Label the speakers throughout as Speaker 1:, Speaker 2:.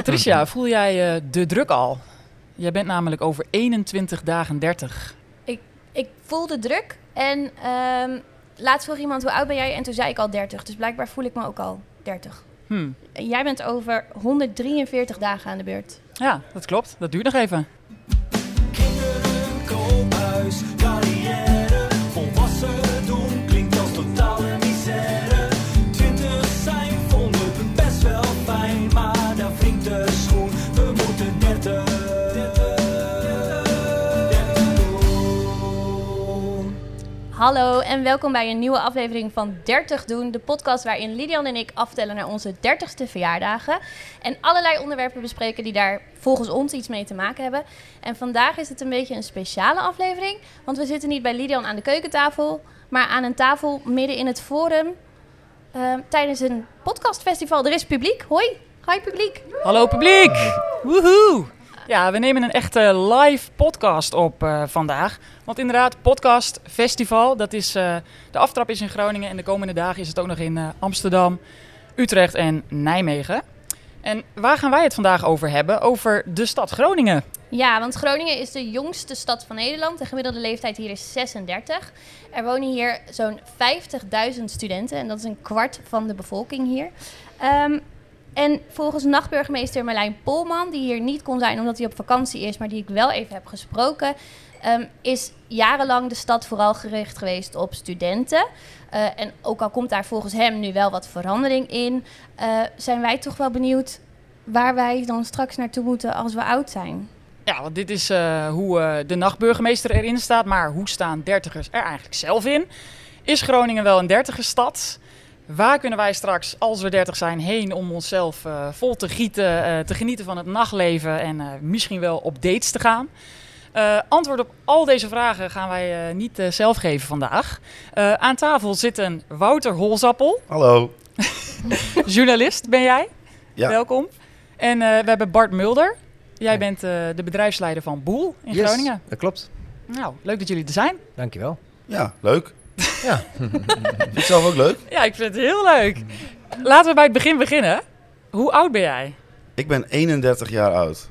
Speaker 1: Patricia, voel jij eh, de druk al? Jij bent namelijk over 21 dagen 30.
Speaker 2: Ik voelde druk en ehm, laatst vroeg iemand hoe oud ben jij en toen zei ik al 30. Dus blijkbaar voel ik me ook al 30.
Speaker 1: Hm.
Speaker 2: En Jij bent over 143 dagen aan de beurt.
Speaker 1: Ja, dat klopt. Dat duurt nog even.
Speaker 3: Kinderen, koophuis, carrière. Volwassen doen klinkt als totale misère. Twintig zijn vonden we best wel fijn, maar daar wringt de schoen. We moeten dertig. Dertig doen.
Speaker 2: Hallo en welkom bij een nieuwe aflevering van 30 Doen, de podcast waarin Lidian en ik aftellen naar onze 30ste verjaardagen. En allerlei onderwerpen bespreken die daar volgens ons iets mee te maken hebben. En vandaag is het een beetje een speciale aflevering, want we zitten niet bij Lidian aan de keukentafel, maar aan een tafel midden in het forum eh, tijdens een podcastfestival. Er is publiek. Hoi, hi publiek.
Speaker 1: Hallo publiek! Woehoe! Ja, we nemen een echte live podcast op eh, vandaag. Want inderdaad, podcast, festival, dat is, eh, de aftrap is in Groningen en de komende dagen is het ook nog in eh, Amsterdam, Utrecht en Nijmegen. En waar gaan wij het vandaag over hebben? Over de stad Groningen.
Speaker 2: Ja, want Groningen is de jongste stad van Nederland. De gemiddelde leeftijd hier is 36. Er wonen hier zo'n 50.000 studenten en dat is een kwart van de bevolking hier. Ehm, en volgens nachtburgemeester Marlijn Polman, die hier niet kon zijn omdat hij op vakantie is, maar die ik wel even heb gesproken, ehm, is jarenlang de stad vooral gericht geweest op studenten. Eh, en ook al komt daar volgens hem nu wel wat verandering in, eh, zijn wij toch wel benieuwd waar wij dan straks naartoe moeten als we oud zijn.
Speaker 1: Ja, want dit is eh, hoe eh, de nachtburgemeester erin staat. Maar hoe staan dertigers er eigenlijk zelf in? Is Groningen wel een dertigerstad? Waar kunnen wij straks, als we dertig zijn, heen om onszelf eh, vol te gieten, eh, te genieten van het nachtleven en eh, misschien wel op dates te gaan? Eh, antwoord op al deze vragen gaan wij eh, niet eh, zelf geven vandaag. Eh, aan tafel zitten Wouter Holzappel,
Speaker 4: Hallo.
Speaker 1: journalist ben jij.
Speaker 4: Ja.
Speaker 1: Welkom. En eh, we hebben Bart Mulder. Jij bent eh, de bedrijfsleider van Boel in
Speaker 4: Yes.
Speaker 1: Groningen.
Speaker 5: Dat klopt.
Speaker 1: Nou, leuk dat jullie er zijn.
Speaker 5: Dankjewel.
Speaker 4: Ja, leuk.
Speaker 5: Ja.
Speaker 4: Vind je zelf ook leuk?
Speaker 1: Ja, ik vind het heel leuk. Laten we bij het begin beginnen. Hoe oud ben jij?
Speaker 4: Ik ben 31 jaar oud.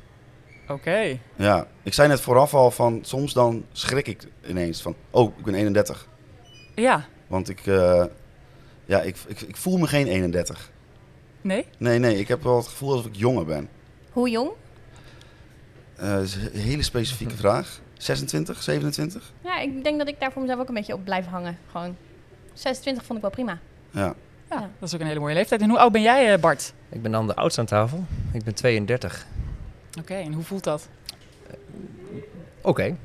Speaker 1: Oké.
Speaker 4: Ja, ik zei net vooraf al van soms dan schrik ik ineens van, oh, ik ben 31.
Speaker 1: Ja.
Speaker 4: Want ik, eh, ja, ik, ik, ik voel me geen 31.
Speaker 1: Nee?
Speaker 4: Nee, nee, ik heb wel het gevoel alsof ik jonger ben.
Speaker 2: Hoe jong?
Speaker 4: Eh, dat is een hele specifieke vraag. 26, 27?
Speaker 2: Ja, ik denk dat ik daar voor mezelf ook een beetje op blijf hangen. Gewoon 26 vond ik wel prima.
Speaker 4: Ja.
Speaker 1: Ja,
Speaker 2: Ja.
Speaker 1: dat is ook een hele mooie leeftijd. En hoe oud ben jij, eh, Bart?
Speaker 5: Ik ben dan de oudste aan tafel. Ik ben 32.
Speaker 1: Oké, en hoe voelt dat?
Speaker 5: Oké,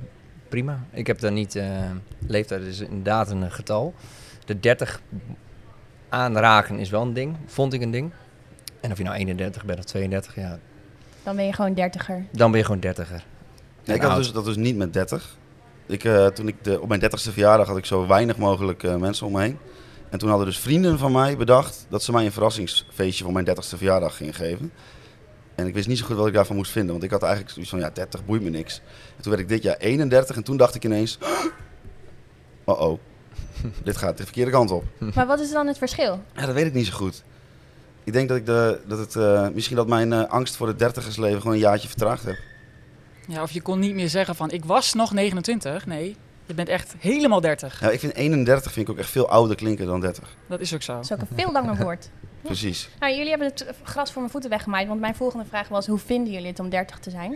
Speaker 5: prima. Ik heb daar niet... eh, leeftijd is inderdaad een getal. De 30 aanraken is wel een ding. Vond ik een ding. En of je nou 31 bent of 32, ja,
Speaker 2: Dan ben je gewoon dertiger.
Speaker 5: dan ben je gewoon 30er.
Speaker 4: Nee, ik
Speaker 5: En
Speaker 4: had
Speaker 5: oud.
Speaker 4: dus, dat dus niet met 30. Ik, eh, toen ik de, op mijn 30ste verjaardag had ik zo weinig mogelijk eh, mensen om me heen. En toen hadden dus vrienden van mij bedacht dat ze mij een verrassingsfeestje voor mijn 30ste verjaardag gingen geven. En ik wist niet zo goed wat ik daarvan moest vinden, want ik had eigenlijk zoiets van, ja, 30 boeit me niks. En toen werd ik dit jaar 31 en toen dacht ik ineens, oh oh, dit gaat de verkeerde kant op.
Speaker 2: Maar wat is dan het verschil?
Speaker 4: Ja, dat weet ik niet zo goed. Ik denk dat ik de, dat het, eh, misschien dat mijn eh, angst voor het dertigersleven gewoon een jaartje vertraagd heb.
Speaker 1: Ja, of je kon niet meer zeggen van, ik was nog 29. Nee, je bent echt helemaal 30.
Speaker 4: Ja, Nou, ik vind 31 vind ik ook echt veel ouder klinken dan 30.
Speaker 1: Dat is ook zo.
Speaker 2: Dat is ook een veel langer woord.
Speaker 4: Precies.
Speaker 2: Nou, jullie hebben het gras voor mijn voeten weggemaaid. Want mijn volgende vraag was, hoe vinden jullie het om 30 te zijn?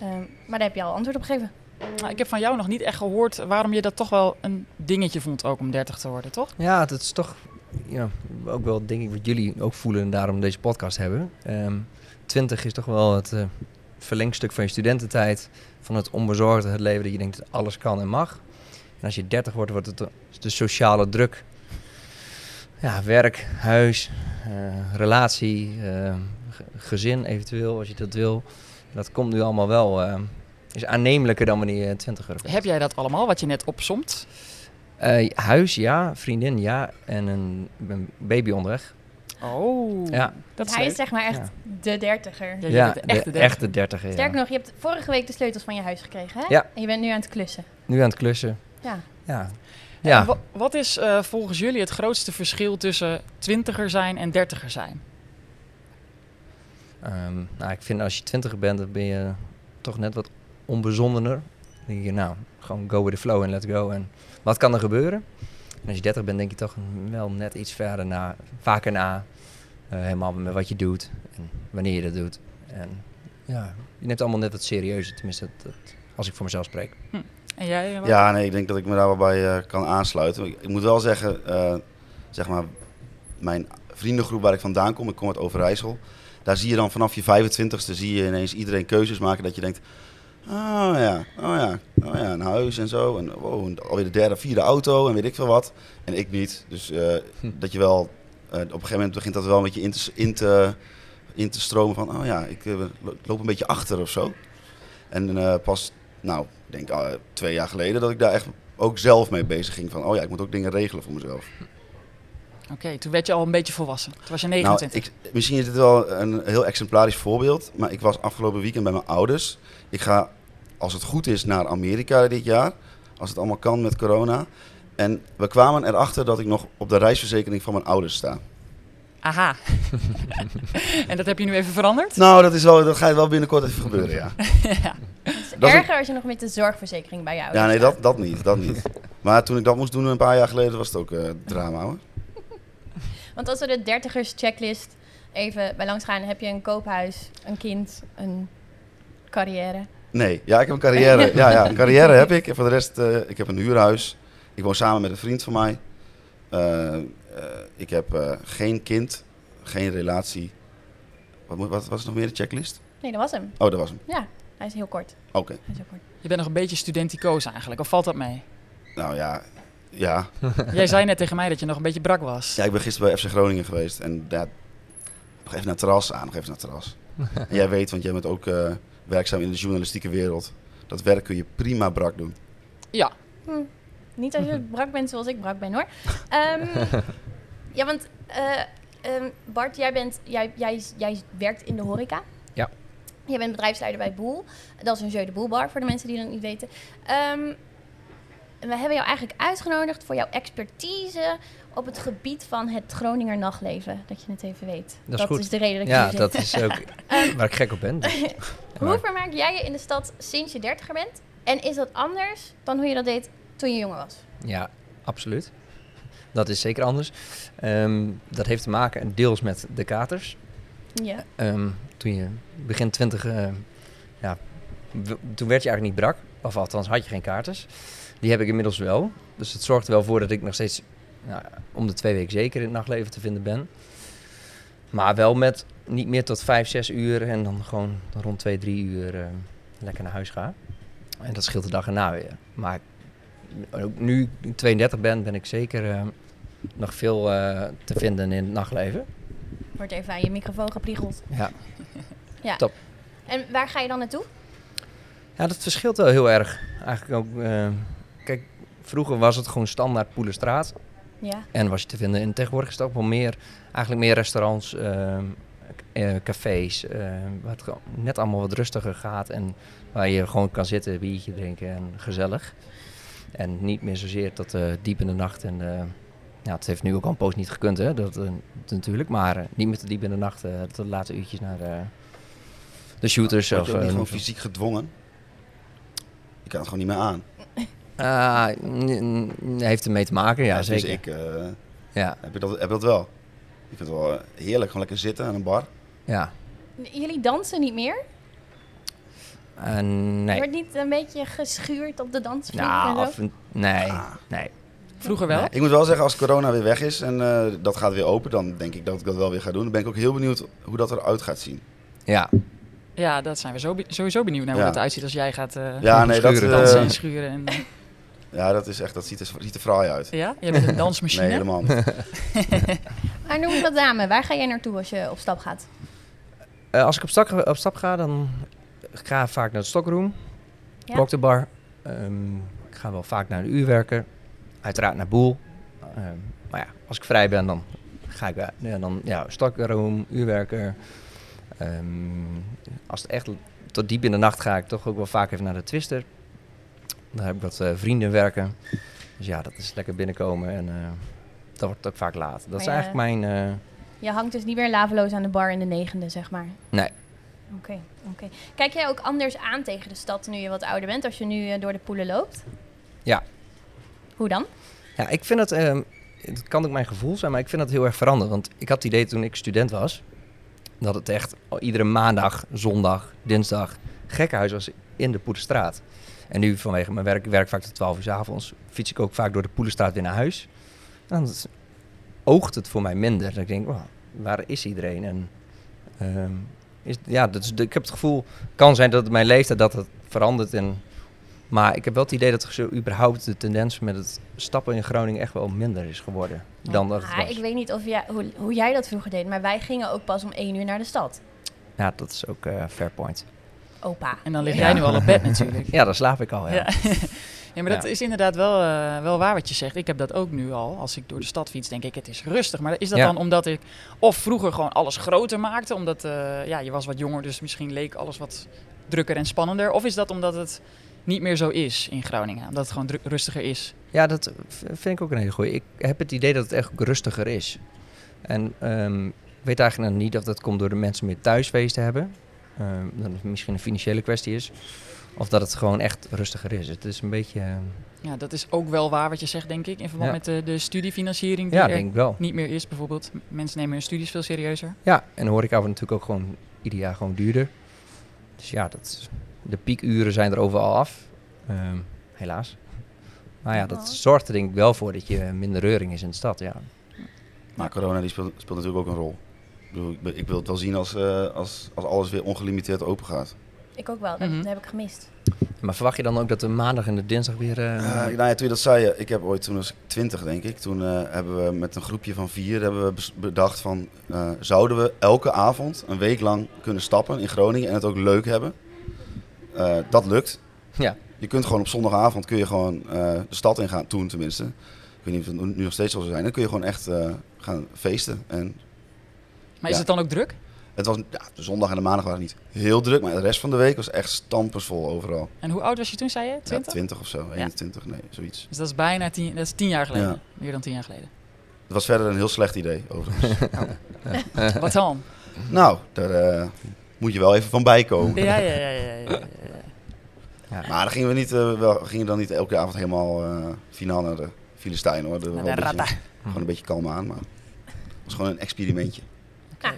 Speaker 2: Ehm, maar daar heb je al antwoord op gegeven.
Speaker 1: Maar Nou, ik heb van jou nog niet echt gehoord waarom je dat toch wel een dingetje vond ook om 30 te worden, toch?
Speaker 5: Ja, dat is toch ja, ook wel denk ik wat jullie ook voelen en daarom deze podcast hebben. Ehm 20 is toch wel het eh, verlengstuk van je studententijd, van het onbezorgde, het leven dat je denkt dat alles kan en mag. En als je 30 wordt, wordt het de- de sociale druk. Ja, werk, huis, eh, relatie, eh, ge- gezin eventueel, als je dat wil. Dat komt nu allemaal wel, eh, is aannemelijker dan wanneer je 20 bent.
Speaker 1: Heb jij dat allemaal, wat je net opsomt?
Speaker 5: Eh, huis, ja. Vriendin, ja. En een, een baby onderweg.
Speaker 1: Oh,
Speaker 5: Ja.
Speaker 1: dat is
Speaker 2: Hij
Speaker 1: leuk.
Speaker 2: is zeg maar echt
Speaker 5: Ja.
Speaker 2: de dertiger.
Speaker 1: Ja, Dus je bent de echte
Speaker 5: de
Speaker 1: 30.
Speaker 5: echte dertiger.
Speaker 2: Sterker
Speaker 5: ja.
Speaker 2: nog, je hebt vorige week de sleutels van je huis gekregen, hè?
Speaker 5: Ja.
Speaker 2: En je bent nu aan het klussen.
Speaker 5: Nu aan het klussen.
Speaker 2: Ja.
Speaker 5: Ja.
Speaker 1: En
Speaker 5: Ja.
Speaker 1: wa- wat is eh, volgens jullie het grootste verschil tussen twintiger zijn en dertiger zijn?
Speaker 5: Ehm, nou, ik vind als je twintiger bent, dan ben je toch net wat onbezondener. Dan denk je, nou, gewoon go with the flow en let's go. En wat kan er gebeuren? En als je dertig bent, denk je toch wel net iets verder na, vaker na. eh, helemaal met wat je doet en wanneer je dat doet. En ja, je neemt het allemaal net wat serieuzer. Tenminste, dat, dat- als ik voor mezelf spreek.
Speaker 1: En jij? eh, Mark?
Speaker 4: Ja, nee, ik denk dat ik me daar wel bij eh, kan aansluiten. Ik, ik moet wel zeggen, eh, zeg maar, mijn vriendengroep waar ik vandaan kom, ik kom uit Overijssel. Daar zie je dan vanaf je 25ste zie je ineens iedereen keuzes maken dat je denkt... Oh ja, oh ja, oh ja, een huis en zo. En wow, en alweer de derde, vierde auto en weet ik veel wat. En ik niet. Dus eh,
Speaker 5: Hm.
Speaker 4: dat je wel, eh, op een gegeven moment begint dat wel een beetje in te, in te, in te stromen van... Oh ja, ik eh, loop een beetje achter of zo. En eh, pas, nou, ik denk eh, twee jaar geleden dat ik daar echt ook zelf mee bezig ging. Van, oh ja, ik moet ook dingen regelen voor mezelf.
Speaker 1: Oké, toen werd je al een beetje volwassen. Toen was je
Speaker 4: Nou,
Speaker 1: 29.
Speaker 4: ik, misschien is dit wel een heel exemplarisch voorbeeld, maar ik was afgelopen weekend bij mijn ouders. Ik ga, als het goed is, naar Amerika dit jaar, als het allemaal kan met corona. En we kwamen erachter dat ik nog op de reisverzekering van mijn ouders sta.
Speaker 1: Aha. en dat heb je nu even veranderd?
Speaker 4: Nou, dat, is wel, dat gaat wel binnenkort even gebeuren, ja.
Speaker 2: Het
Speaker 4: dat
Speaker 2: is
Speaker 4: is-
Speaker 2: erger als je nog met de zorgverzekering bij jou
Speaker 4: Ja, nee, dat, dat niet, dat niet. Maar toen ik dat moest doen een paar jaar geleden, was het ook eh, drama hoor.
Speaker 2: Want als we de dertigers checklist even bij langs gaan, heb je een koophuis, een kind, een carrière.
Speaker 4: Nee, ja, ik heb een carrière. Ja, ja, een carrière heb ik. En voor de rest, eh, ik heb een huurhuis. Ik woon samen met een vriend van mij. Eh, eh, ik heb eh, geen kind, geen relatie. Wat, moet- wat was nog meer de checklist?
Speaker 2: Nee, dat was hem.
Speaker 4: Oh, dat was hem.
Speaker 2: Ja, hij is heel kort.
Speaker 4: Oké.
Speaker 2: Hij is heel kort.
Speaker 1: Je bent nog een beetje studenticoos eigenlijk, of valt dat mee?
Speaker 4: Nou ja, ja.
Speaker 1: Jij zei net tegen mij dat je nog een beetje brak was.
Speaker 4: ja. Ik ben gisteren bij FC Groningen geweest. En daar... Nog even naar het terras aan, nog even naar het terras. En jij weet, want jij bent ook eh, werkzaam in de journalistieke wereld. Dat werk kun je prima brak doen.
Speaker 2: Niet als je brak bent zoals ik brak ben hoor. Ehm, ja, want eh, ehm, Bart, jij, bent, jij, jij, jij werkt in de horeca.
Speaker 5: Ja.
Speaker 2: Jij bent bedrijfsleider bij Boel. Dat is een Jeu de Boel bar voor de mensen die dat niet weten. Ehm, en we hebben jou eigenlijk uitgenodigd voor jouw expertise op het gebied van het Groninger nachtleven. Dat je het even weet.
Speaker 5: Dat is goed.
Speaker 2: de reden dat je
Speaker 5: Ja,
Speaker 2: hier zit.
Speaker 5: dat is ook waar ik gek op ben. Dus.
Speaker 2: Hoe vermaak jij je in de stad sinds je dertiger bent? En is dat anders dan hoe je dat deed toen je jonger was?
Speaker 5: Ja, absoluut. Dat is zeker anders. Ehm, dat heeft te maken deels met de katers.
Speaker 2: Ja.
Speaker 5: Ehm, toen je begin twintig, eh, ja, w- toen werd je eigenlijk niet brak. Of althans had je geen katers. Die heb ik inmiddels wel. Dus het zorgt er wel voor dat ik nog steeds nou, om de twee weken zeker in het nachtleven te vinden ben. Maar wel met niet meer tot vijf, zes uur en dan gewoon rond twee, drie uur eh, lekker naar huis ga. En dat scheelt de dag erna weer. Maar ook nu ik 32 ben, ben ik zeker eh, nog veel eh, te vinden in het nachtleven.
Speaker 2: Wordt even aan je microfoon gepriegeld.
Speaker 5: Ja.
Speaker 2: En waar ga je dan naartoe?
Speaker 5: Ja, dat verschilt wel heel erg. Eigenlijk ook. eh, kijk, vroeger was het gewoon standaard Poelenstraat.
Speaker 2: Ja.
Speaker 5: En was je te vinden. En tegenwoordig is het ook wel meer, eigenlijk meer restaurants, ehm, k- eh, cafés. eh, waar het gewoon net allemaal wat rustiger gaat. En waar je gewoon kan zitten, biertje drinken en gezellig. En niet meer zozeer tot eh, diep in de nacht. En eh, ja, het heeft nu ook al een poos niet gekund, hè? Dat, eh, natuurlijk. Maar eh, niet meer te diep in de nacht, eh tot de late uurtjes naar de, de shooters.
Speaker 4: Word
Speaker 5: of,
Speaker 4: je ook
Speaker 5: eh,
Speaker 4: niet gewoon fysiek gedwongen? Ik kan het gewoon niet meer aan.
Speaker 5: Ah, n- n- heeft ermee te maken, ja,
Speaker 4: dus
Speaker 5: zeker.
Speaker 4: ik... eh,
Speaker 5: Ja,
Speaker 4: Heb je dat, heb je dat wel? Ik vind het wel eh, heerlijk, gewoon lekker zitten aan een bar.
Speaker 5: ja.
Speaker 2: Jullie dansen niet meer?
Speaker 5: Eh, nee.
Speaker 2: Wordt niet een beetje geschuurd op de dansvloer
Speaker 5: Nou,
Speaker 2: en zo?
Speaker 5: af en- nee,
Speaker 4: Ah.
Speaker 5: nee.
Speaker 1: Vroeger wel.
Speaker 5: Nee.
Speaker 4: Ik moet wel zeggen, als corona weer weg is en eh, dat gaat weer open, dan denk ik dat ik dat wel weer ga doen. Dan ben ik ook heel benieuwd hoe dat eruit gaat zien.
Speaker 5: Ja,
Speaker 1: Ja, dat zijn we zo be- sowieso benieuwd naar hoe
Speaker 4: Ja.
Speaker 1: dat eruit ziet als jij gaat eh
Speaker 4: Ja, nee, dat,
Speaker 5: schuren.
Speaker 4: eh,
Speaker 1: dansen en schuren. En, eh,
Speaker 4: ja, dat is echt, dat ziet er, ziet er fraai uit.
Speaker 1: ja, je bent een dansmachine.
Speaker 4: Nee, helemaal niet.
Speaker 2: Maar noem dat namen. Waar ga jij naartoe als je op stap gaat?
Speaker 5: Eh, als ik op stap, op stap ga, dan ga ik vaak naar de Stockroom,
Speaker 2: Ja.
Speaker 5: Proctor Bar. Ehm, ik ga wel vaak naar de uurwerker, uiteraard naar Boel. Ehm, maar ja, als ik vrij ben, dan ga ik wel- ja, dan, ja, Stockroom, uurwerker. Ehm, als het echt tot diep in de nacht ga ik toch ook wel vaak even naar de Twister. Daar heb ik wat eh, vrienden werken. Dus ja, dat is lekker binnenkomen en eh, dat wordt ook vaak laat. Dat
Speaker 2: Maar
Speaker 5: is
Speaker 2: je-
Speaker 5: eigenlijk mijn... eh,
Speaker 2: Je hangt dus niet meer laveloos aan de bar in de negende, zeg maar.
Speaker 5: Nee.
Speaker 2: Oké, oké. Kijk jij ook anders aan tegen de stad nu je wat ouder bent, als je nu eh, door de poelen loopt?
Speaker 5: Ja.
Speaker 2: Hoe dan?
Speaker 5: Ja, ik vind dat, ehm, het kan ook mijn gevoel zijn, maar ik vind dat heel erg veranderd. Want ik had het idee toen ik student was, dat het echt al iedere maandag, zondag, dinsdag gekkenhuis was in de Poelenstraat. En nu vanwege mijn werk, ik werk vaak tot 12 uur 's avonds, fiets ik ook vaak door de Poelenstraat weer naar huis. En dan is- oogt het voor mij minder. Dat ik denk, wow, waar is iedereen? En ehm, is, ja, dat is, de- ik heb het gevoel, kan zijn dat het mijn leeftijd dat het verandert en maar ik heb wel het idee dat zo überhaupt de tendens met het stappen in Groningen echt wel minder is geworden dan dat het
Speaker 2: Ah,
Speaker 5: was.
Speaker 2: ik weet niet of jij, hoe, hoe jij dat vroeger deed, maar wij gingen ook pas om één uur naar de stad.
Speaker 5: Ja, dat is ook eh fair point.
Speaker 2: Opa.
Speaker 1: En dan lig
Speaker 5: Ja.
Speaker 1: jij nu al op bed natuurlijk.
Speaker 5: Ja, daar slaap ik al. Ja.
Speaker 1: Ja. ja, maar dat
Speaker 5: Ja.
Speaker 1: is inderdaad wel, eh, wel waar wat je zegt. Ik heb dat ook nu al. Als ik door de stad fiets, denk ik, het is rustig. Maar is dat
Speaker 5: Ja.
Speaker 1: dan omdat ik of vroeger gewoon alles groter maakte? Omdat eh, ja, je was wat jonger, dus misschien leek alles wat drukker en spannender. Of is dat omdat het niet meer zo is in Groningen? Omdat het gewoon dru- rustiger is?
Speaker 5: Ja, dat v- vind ik ook een hele goeie. Ik heb het idee dat het echt ook rustiger is. En ehm, ik weet eigenlijk nog niet of dat komt door de mensen meer thuisfeesten hebben. Ehm, dat het misschien een financiële kwestie is. Of dat het gewoon echt rustiger is. Het is een beetje... ehm,
Speaker 1: Ja, dat is ook wel waar wat je zegt, denk ik. In verband
Speaker 5: Ja.
Speaker 1: met de, de studiefinanciering die
Speaker 5: ja,
Speaker 1: er
Speaker 5: denk ik wel.
Speaker 1: niet meer is, bijvoorbeeld. M- Mensen nemen hun studies veel serieuzer.
Speaker 5: Ja, en de horeca wordt natuurlijk ook gewoon ieder jaar gewoon duurder. Dus ja, dat is- de piekuren zijn er overal af. Ehm, helaas. Maar ja, dat
Speaker 2: Oh.
Speaker 5: zorgt er denk ik wel voor dat je minder reuring is in de stad. Ja,
Speaker 4: Maar corona die speelt, speelt natuurlijk ook een rol. Ik, bedoel, ik, be- ik wil het wel zien als, eh, als, als alles weer ongelimiteerd open gaat.
Speaker 2: Ik ook wel, dat,
Speaker 1: Mhm.
Speaker 2: dat heb ik gemist.
Speaker 5: maar verwacht je dan ook dat de maandag en de dinsdag weer... eh,
Speaker 4: Eh, nou ja, toen je dat zei, eh, ik heb ooit, toen was ik twintig denk ik, toen eh, hebben we met een groepje van vier hebben we bes- bedacht van, eh, zouden we elke avond een week lang kunnen stappen in Groningen en het ook leuk hebben? Eh, dat lukt.
Speaker 5: Ja.
Speaker 4: Je kunt gewoon op zondagavond kun je gewoon eh, de stad ingaan, toen tenminste. Ik weet niet of het nu nog steeds zo zou zijn. Dan kun je gewoon echt eh, gaan feesten. En
Speaker 1: Maar is het
Speaker 4: Ja.
Speaker 1: dan ook druk?
Speaker 4: het was, ja, de zondag en de maandag waren niet heel druk, maar de rest van de week was echt stampersvol overal.
Speaker 1: En hoe oud was je toen, zei je? 20?
Speaker 4: Ja, 20 of zo, 21, nee, zoiets.
Speaker 1: Dus dat is bijna tien, dat is tien jaar geleden.
Speaker 4: Ja.
Speaker 1: Meer dan tien jaar geleden.
Speaker 4: Het was verder een heel slecht idee, overigens.
Speaker 1: Wat dan?
Speaker 4: nou, daar eh, moet je wel even van bijkomen.
Speaker 1: Ja, ja, ja, ja, ja, ja.
Speaker 4: Maar dan gingen we niet, eh, wel, gingen dan niet elke avond helemaal eh finaal naar de Filistijn hoor. Dat was
Speaker 1: Naar
Speaker 4: wel
Speaker 1: de
Speaker 4: een
Speaker 1: rata.
Speaker 4: beetje, gewoon een beetje kalm aan, maar het was gewoon een experimentje.
Speaker 1: Oké.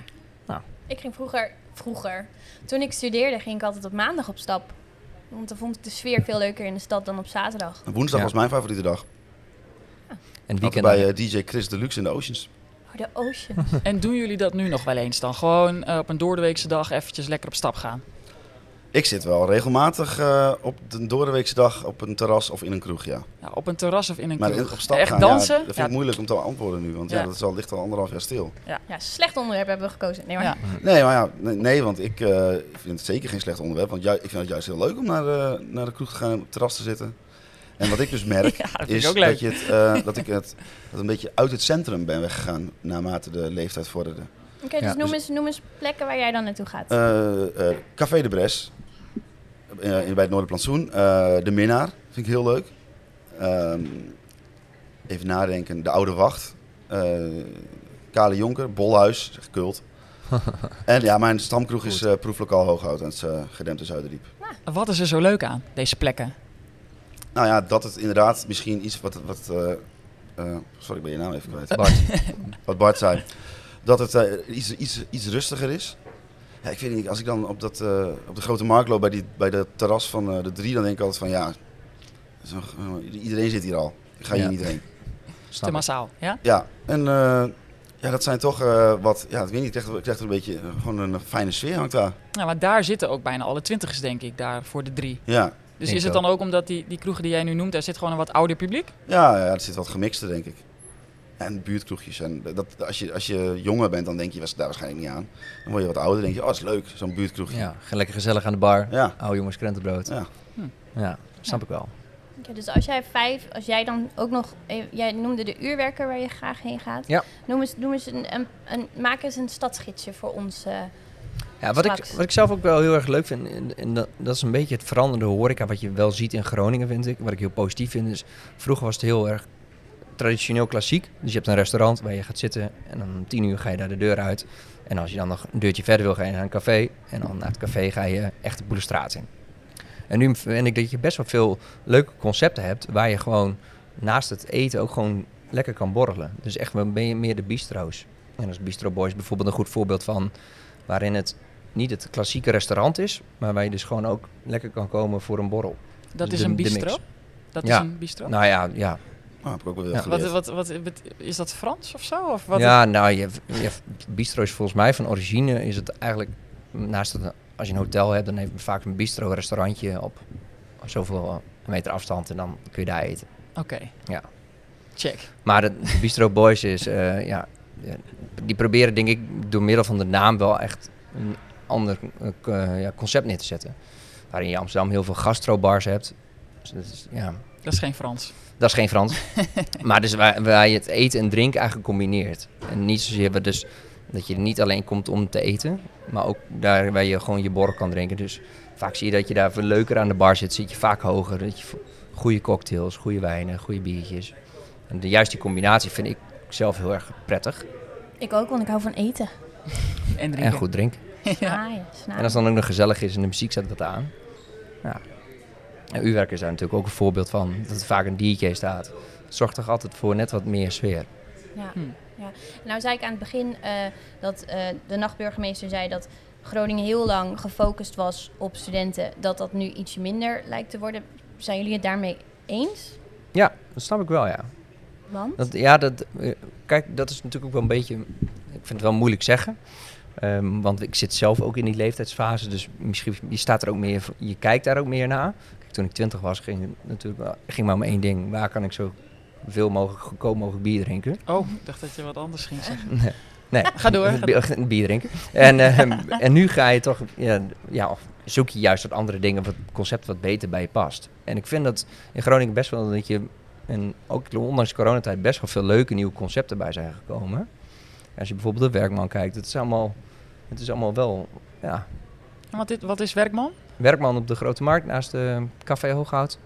Speaker 2: Ik ging vroeger, vroeger, toen ik studeerde, ging ik altijd op maandag op stap. Want dan vond ik de sfeer veel leuker in de stad dan op zaterdag.
Speaker 4: En woensdag
Speaker 5: Ja.
Speaker 4: was mijn favoriete dag.
Speaker 5: en
Speaker 4: Altijd
Speaker 5: weekend
Speaker 4: bij eh, DJ Chris Deluxe in de Oceans.
Speaker 2: Oh, de ocean.
Speaker 1: En doen jullie dat nu nog wel eens dan? Gewoon eh, op een doordeweekse dag eventjes lekker op stap gaan.
Speaker 4: Ik zit wel regelmatig eh, op de doordeweekse dag op een terras of in een kroeg, ja.
Speaker 1: Ja, op een terras of in een
Speaker 4: Maar
Speaker 1: kroeg.
Speaker 4: op stap
Speaker 1: Echt
Speaker 4: gaan, ja,
Speaker 1: dansen?
Speaker 4: dat vind ik moeilijk om te antwoorden nu, want ja,
Speaker 1: Ja.
Speaker 4: dat is al, ligt al anderhalf jaar stil.
Speaker 2: Ja, slecht onderwerp hebben we gekozen. Nee, maar
Speaker 1: Ja.
Speaker 4: Nee, maar ja, nee, nee, want ik eh, vind het zeker geen slecht onderwerp. Want ju- ik vind het juist heel leuk om naar, eh, naar de kroeg te gaan en op het terras te zitten. En wat ik dus merk,
Speaker 1: Ja, dat vind
Speaker 4: is
Speaker 1: ik ook leuk.
Speaker 4: dat, je het, eh, dat ik het dat een beetje uit het centrum ben weggegaan naarmate de leeftijd vorderde.
Speaker 2: Oké, dus,
Speaker 5: Ja,
Speaker 2: noem,
Speaker 4: dus-
Speaker 2: Eens, noem eens plekken waar jij dan naartoe gaat.
Speaker 4: Eh, eh, Café de Bres, eh, in- bij het Noorderplantsoen. Eh de Minnaar, vind ik heel leuk. Ehm, even nadenken, De Oude Wacht. Eh, Kale Jonker, Bolhuis, zeg kult. en ja, mijn stamkroeg is eh proeflokaal Hooghout aan het eh, gedempte Zuiderdiep.
Speaker 1: Wat is er zo leuk aan, deze plekken?
Speaker 4: Nou ja, dat het inderdaad misschien iets wat... wat eh, eh, sorry, ik ben je naam even kwijt.
Speaker 5: Bart.
Speaker 4: Wat Bart zei. Dat het eh, iets, iets, iets rustiger is. Ja, ik weet niet, als ik dan op, dat, eh, op de grote markt loop bij, die, bij dat terras van eh, de drie, dan denk ik altijd van ja, zo, iedereen zit hier al. Ik ga hier
Speaker 5: Ja.
Speaker 4: niet heen.
Speaker 1: Te
Speaker 5: Snap ik.
Speaker 1: massaal, ja?
Speaker 4: Ja, en eh, ja, dat zijn toch eh, wat, ja, ik weet niet, ik krijg, er- ik krijg er een beetje, eh, gewoon een fijne sfeer hangt daar.
Speaker 1: Nou, maar daar zitten ook bijna alle twintigers, denk ik, daar voor de drie.
Speaker 4: Ja,
Speaker 1: Dus
Speaker 5: Denk
Speaker 1: is het
Speaker 5: wel.
Speaker 1: dan ook omdat die, die kroegen die jij nu noemt, daar zit gewoon een wat ouder publiek?
Speaker 4: ja, ja er zit wat gemixte denk ik. En buurtkroegjes. En dat, als, je, als je jonger bent, dan denk je was- daar waarschijnlijk niet aan. Dan word je wat ouder, denk je, oh, dat is leuk, zo'n buurtkroegje.
Speaker 5: Ja, ga lekker gezellig aan de bar.
Speaker 4: ja.
Speaker 5: Oude jongens krentenbrood.
Speaker 4: Ja.
Speaker 1: Hm.
Speaker 5: Ja, snap ik wel.
Speaker 2: Oké, dus als jij vijf, als jij dan ook nog, eh, jij noemde de uurwerker waar je graag heen gaat.
Speaker 5: Ja.
Speaker 2: Noem eens, noem eens een, een, een- maak eens een stadsgidsje voor ons. eh.
Speaker 5: Ja, wat ik,
Speaker 2: Straks.
Speaker 5: wat ik zelf ook wel heel erg leuk vind, en, en dat, dat is een beetje het veranderde horeca wat je wel ziet in Groningen, vind ik. Wat ik heel positief vind, is vroeger was het heel erg traditioneel klassiek. Dus je hebt een restaurant waar je gaat zitten en dan om tien uur ga je daar de deur uit. En als je dan nog een deurtje verder wil, ga je naar een café. En dan naar het café ga je echt de boelestraat in. En nu vind ik dat je best wel veel leuke concepten hebt waar je gewoon naast het eten ook gewoon lekker kan borrelen. Dus echt wel ben je meer de bistro's. En als Bistro Boys bijvoorbeeld een goed voorbeeld van waarin het niet het klassieke restaurant is, maar waar je dus gewoon ook lekker kan komen voor een borrel.
Speaker 1: Dat
Speaker 5: Dus
Speaker 1: is
Speaker 5: de-
Speaker 1: een
Speaker 5: de mix.
Speaker 1: bistro? Dat is
Speaker 5: Ja.
Speaker 1: een bistro?
Speaker 5: Nou ja, ja,
Speaker 4: Nou, heb ik ook wel weer
Speaker 5: Ja.
Speaker 1: Wat,
Speaker 4: geleerd.
Speaker 1: wat, wat, bet- is dat Frans of zo? Of wat
Speaker 5: ja, nou, je, je, bistro is volgens mij van origine is het eigenlijk naast het, als je een hotel hebt, dan heeft het vaak een bistro restaurantje op zoveel meter afstand en dan kun je daar eten.
Speaker 1: Oké.
Speaker 5: Ja.
Speaker 1: Check.
Speaker 5: Maar de, de Bistro Boys is, eh, ja, ja, die proberen denk ik door middel van de naam wel echt een ander eh, k- eh, ja, concept neer te zetten. Waarin je in Amsterdam heel veel gastrobars hebt. Dus dat is, ja,
Speaker 1: Dat is geen Frans.
Speaker 5: dat is geen Frans. maar dus waar, waar je het eten en drinken eigenlijk combineert. En niet zozeer waar dus dat je niet alleen komt om te eten, maar ook daar waar je gewoon je borrel kan drinken. Dus vaak zie je dat je daar veel leuker aan de bar zit, zit je vaak hoger. Dat je vo- goede cocktails, goede wijnen, goede biertjes. En de, juist die combinatie vind ik zelf heel erg prettig
Speaker 2: Ik ook, want ik hou van eten.
Speaker 1: En drinken.
Speaker 5: en goed drinken.
Speaker 1: ja.
Speaker 2: Snaaien, snaaien.
Speaker 5: En als het dan ook nog gezellig is en de muziek zet wat aan. Ja. En uw werk is daar natuurlijk ook een voorbeeld van, dat er vaak een DJ staat. Het zorgt toch altijd voor net wat meer sfeer.
Speaker 2: Ja.
Speaker 1: Hmm.
Speaker 2: ja. Nou zei ik aan het begin eh, dat eh, de nachtburgemeester zei dat Groningen heel lang gefocust was op studenten. Dat dat nu ietsje minder lijkt te worden. Zijn jullie het daarmee eens?
Speaker 5: Ja, dat snap ik wel, ja.
Speaker 2: Want?
Speaker 5: Dat, ja, dat, eh, kijk, dat is natuurlijk ook wel een beetje... Ik vind het wel moeilijk zeggen. Ehm, want ik zit zelf ook in die leeftijdsfase. Dus misschien je staat er ook meer... voor- Je kijkt daar ook meer naar. Kijk, toen ik twintig was, ging het natuurlijk wel- ging maar om één ding. Waar kan ik zo veel mogelijk, goedkoop mogelijk bier drinken?
Speaker 1: Oh, ik dacht dat je wat anders ging zeggen.
Speaker 5: Nee. nee.
Speaker 1: Ga door.
Speaker 5: Een bier- Een bier drinken. En, ehm, en nu ga je toch, ja, ja, of zoek je juist wat andere dingen, wat concept wat beter bij je past. En ik vind dat in Groningen best wel dat je, en ook ondanks coronatijd, best wel veel leuke nieuwe concepten bij zijn gekomen. Als je bijvoorbeeld de werkman kijkt, het is allemaal, het is allemaal wel, ja,
Speaker 1: Want dit, wat is werkman?
Speaker 5: werkman op de Grote Markt naast de Café Hooghout.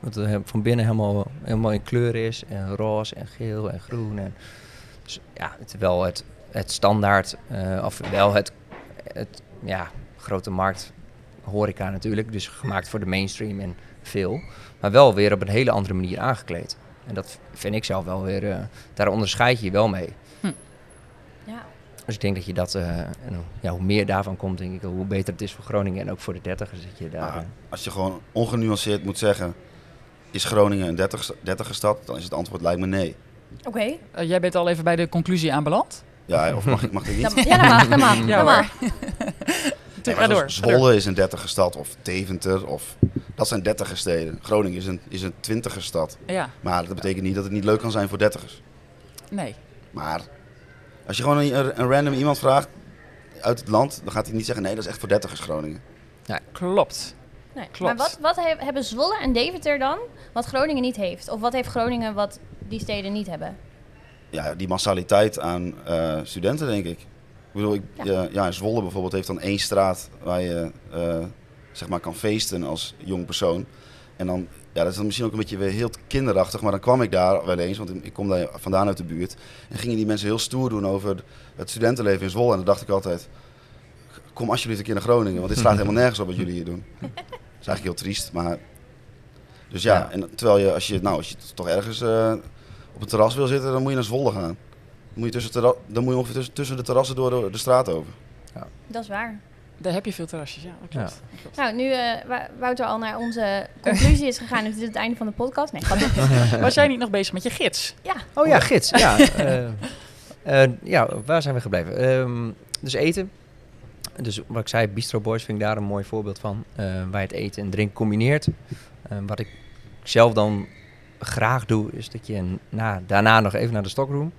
Speaker 5: Wat eh, van binnen helemaal, helemaal in kleur is. En roze en geel en groen. En, dus ja, het, wel het, het standaard, eh, of wel het, het ja, Grote Markt horeca natuurlijk. Dus gemaakt voor de mainstream en veel. Maar wel weer op een hele andere manier aangekleed. En dat vind ik zelf wel weer, eh, daar onderscheid je je wel mee.
Speaker 2: Ja.
Speaker 5: Dus ik denk dat je dat, eh, en hoe- ja, hoe meer daarvan komt, denk ik, hoe beter het is voor Groningen en ook voor de dertigers dat je daar...
Speaker 4: Maar
Speaker 5: eh,
Speaker 4: als je gewoon ongenuanceerd moet zeggen, is Groningen een 30 dertiger stad? Dan is het antwoord lijkt me nee.
Speaker 2: Oké.
Speaker 1: Eh, jij bent al even bij de conclusie aanbeland.
Speaker 4: Ja, of mag ik, mag ik niet?
Speaker 2: Dan- Ja, dat mag, dat mag.
Speaker 5: Ja,
Speaker 2: dat
Speaker 1: hoor.
Speaker 2: mag.
Speaker 1: Ga
Speaker 4: Nee, maar
Speaker 1: door.
Speaker 4: zoals
Speaker 1: ga door.
Speaker 4: Zwolle is een dertiger stad, of Deventer, of, dat zijn dertiger steden. Groningen is een, is een twintiger stad.
Speaker 1: Ja,
Speaker 4: Maar dat betekent niet dat het niet leuk kan zijn voor dertigers.
Speaker 1: nee.
Speaker 4: Maar als je gewoon een, een random iemand vraagt uit het land, dan gaat hij niet zeggen nee, dat is echt voor dertigers Groningen.
Speaker 1: Klopt.
Speaker 2: Nee.
Speaker 1: Klopt.
Speaker 2: Maar wat, wat he- hebben Zwolle en Deventer dan wat Groningen niet heeft? Of wat heeft Groningen wat die steden niet hebben?
Speaker 4: ja, die massaliteit aan eh, studenten, denk ik. Ik bedoel, ik,
Speaker 2: Ja.
Speaker 4: ja. ja, Zwolle bijvoorbeeld heeft dan één straat waar je eh, zeg maar kan feesten als jong persoon. En dan, ja, dat is dan misschien ook een beetje weer heel kinderachtig, maar dan kwam ik daar wel eens, want ik kom daar vandaan uit de buurt. En gingen die mensen heel stoer doen over het studentenleven in Zwolle. En dan dacht ik altijd, kom alsjeblieft een keer naar Groningen, want dit slaat helemaal nergens op wat jullie hier doen. Dat is eigenlijk heel triest, maar... Dus ja,
Speaker 5: Ja.
Speaker 4: en terwijl je, als je, nou, als je toch ergens eh, op een terras wil zitten, dan moet je naar Zwolle gaan. Dan moet je, tussen terra- dan moet je ongeveer tussen, tussen de terrassen door de, de straat over.
Speaker 2: Dat is waar.
Speaker 1: Daar heb je veel terrasjes, ja. Dat klopt. Dat
Speaker 2: Nou, nu eh, Wou- Wouter al naar onze conclusie is gegaan. Dit is het einde van de podcast. Nee, grapje.
Speaker 1: klopt. Was jij niet nog bezig met je gids?
Speaker 5: Oh ja, gids. Ja, eh, eh, ja waar zijn we gebleven? Ehm, dus eten. Dus wat ik zei, Bistro Boys vind ik daar een mooi voorbeeld van. eh, waar je het eten en drinken combineert. Eh, wat ik zelf dan graag doe, is dat je na, daarna nog even naar de stockroom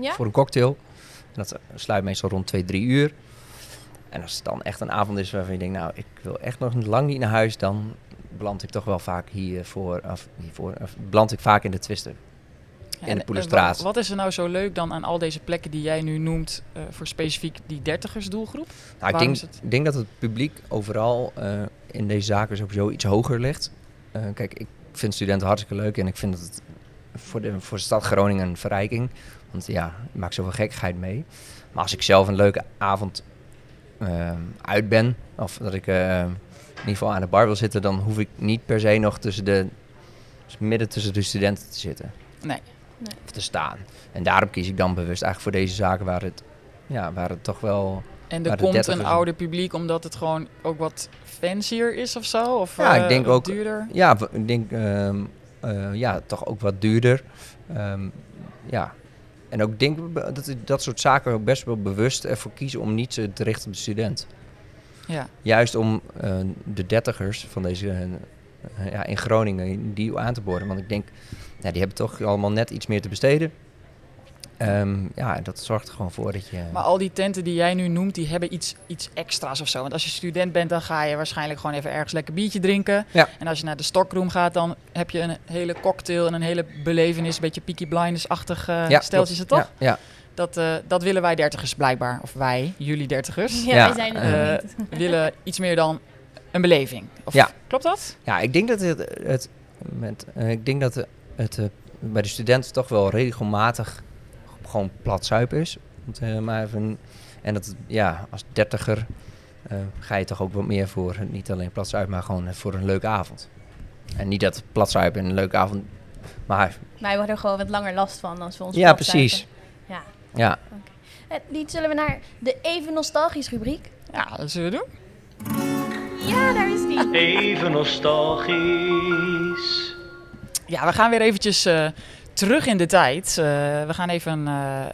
Speaker 2: Ja?
Speaker 5: voor een cocktail. En dat sluit meestal rond 2, 3 uur. En als het dan echt een avond is waarvan je denkt, nou, ik wil echt nog lang niet naar huis, dan beland ik toch wel vaak hiervoor, of hiervoor, of beland ik vaak in de twisten.
Speaker 1: Ja,
Speaker 5: In de
Speaker 1: en-
Speaker 5: Poelenstraat.
Speaker 1: en Wat, wat is er nou zo leuk dan aan al deze plekken die jij nu noemt eh, voor specifiek die dertigers doelgroep?
Speaker 5: Nou, ik
Speaker 1: Waarom
Speaker 5: denk,
Speaker 1: is het-
Speaker 5: ik denk dat het publiek overal eh, in deze zaken sowieso iets hoger ligt. Eh, kijk, ik vind studenten hartstikke leuk en ik vind dat het voor de, voor de stad Groningen een verrijking. Want ja, ik maak zoveel gekkigheid mee. Maar als ik zelf een leuke avond eh, uit ben, of dat ik eh, in ieder geval aan de bar wil zitten, dan hoef ik niet per se nog tussen de, dus midden tussen de studenten te zitten.
Speaker 1: Nee.
Speaker 2: Nee.
Speaker 5: Of te staan. En daarom kies ik dan bewust eigenlijk voor deze zaken waar het, ja, waar het toch wel...
Speaker 1: En
Speaker 5: Maar
Speaker 1: er
Speaker 5: Nou, de
Speaker 1: komt
Speaker 5: 30
Speaker 1: een
Speaker 5: is-
Speaker 1: ouder publiek omdat het gewoon ook wat fancier is of zo? Of,
Speaker 5: Ja, ik
Speaker 1: eh,
Speaker 5: denk
Speaker 1: wat
Speaker 5: ook-
Speaker 1: duurder?
Speaker 5: Ja, w- ik denk ehm, eh, ja, toch ook wat duurder. Ehm, ja. En ook denk ik be- dat ik dat soort zaken ook best wel bewust ervoor kiezen om niet zo te richten op de student.
Speaker 1: Ja.
Speaker 5: Juist om eh, de dertigers van deze eh, eh, ja, in Groningen die aan te boren. Want ik denk, ja, die hebben toch allemaal net iets meer te besteden. Ehm, ja, dat zorgt er gewoon voor dat je.
Speaker 1: Maar al die tenten die jij nu noemt, die hebben iets, iets extra's of zo. Want als je student bent, dan ga je waarschijnlijk gewoon even ergens lekker biertje drinken.
Speaker 5: Ja.
Speaker 1: En als je naar de stokroom gaat, dan heb je een hele cocktail en een hele belevenis. Een beetje Peaky Blinders-achtig eh
Speaker 5: ja,
Speaker 1: steltjes, het
Speaker 5: klopt.
Speaker 1: toch?
Speaker 5: Ja, ja.
Speaker 1: Dat, eh, dat willen wij dertigers blijkbaar. Of wij, jullie dertigers,
Speaker 2: Ja,
Speaker 5: Ja,
Speaker 2: wij zijn er nog
Speaker 1: eh, willen iets meer dan een beleving. Of,
Speaker 5: Ja.
Speaker 1: Klopt dat?
Speaker 5: Ja, ik denk dat het, het met, eh, ik denk dat het, het eh, bij de studenten toch wel regelmatig gewoon plat zuip is. Om het, eh, maar even, en dat, het, ja, als dertiger eh, ga je toch ook wat meer voor, eh, niet alleen plat zuip, maar gewoon eh, voor een leuke avond. En niet dat plat zuip en een leuke avond, maar
Speaker 2: niet. Maar we hadden er gewoon wat langer last van als we ons
Speaker 5: ja,
Speaker 2: opzagen.
Speaker 5: precies.
Speaker 2: Ja.
Speaker 5: Ja,
Speaker 2: Eh, Niet zullen we naar de even nostalgisch rubriek.
Speaker 1: Ja, dat zullen we doen.
Speaker 2: Ja, daar is die.
Speaker 6: Even nostalgisch.
Speaker 1: Ja, we gaan weer eventjes eh, terug in de tijd. Eh, we gaan even eh, eh,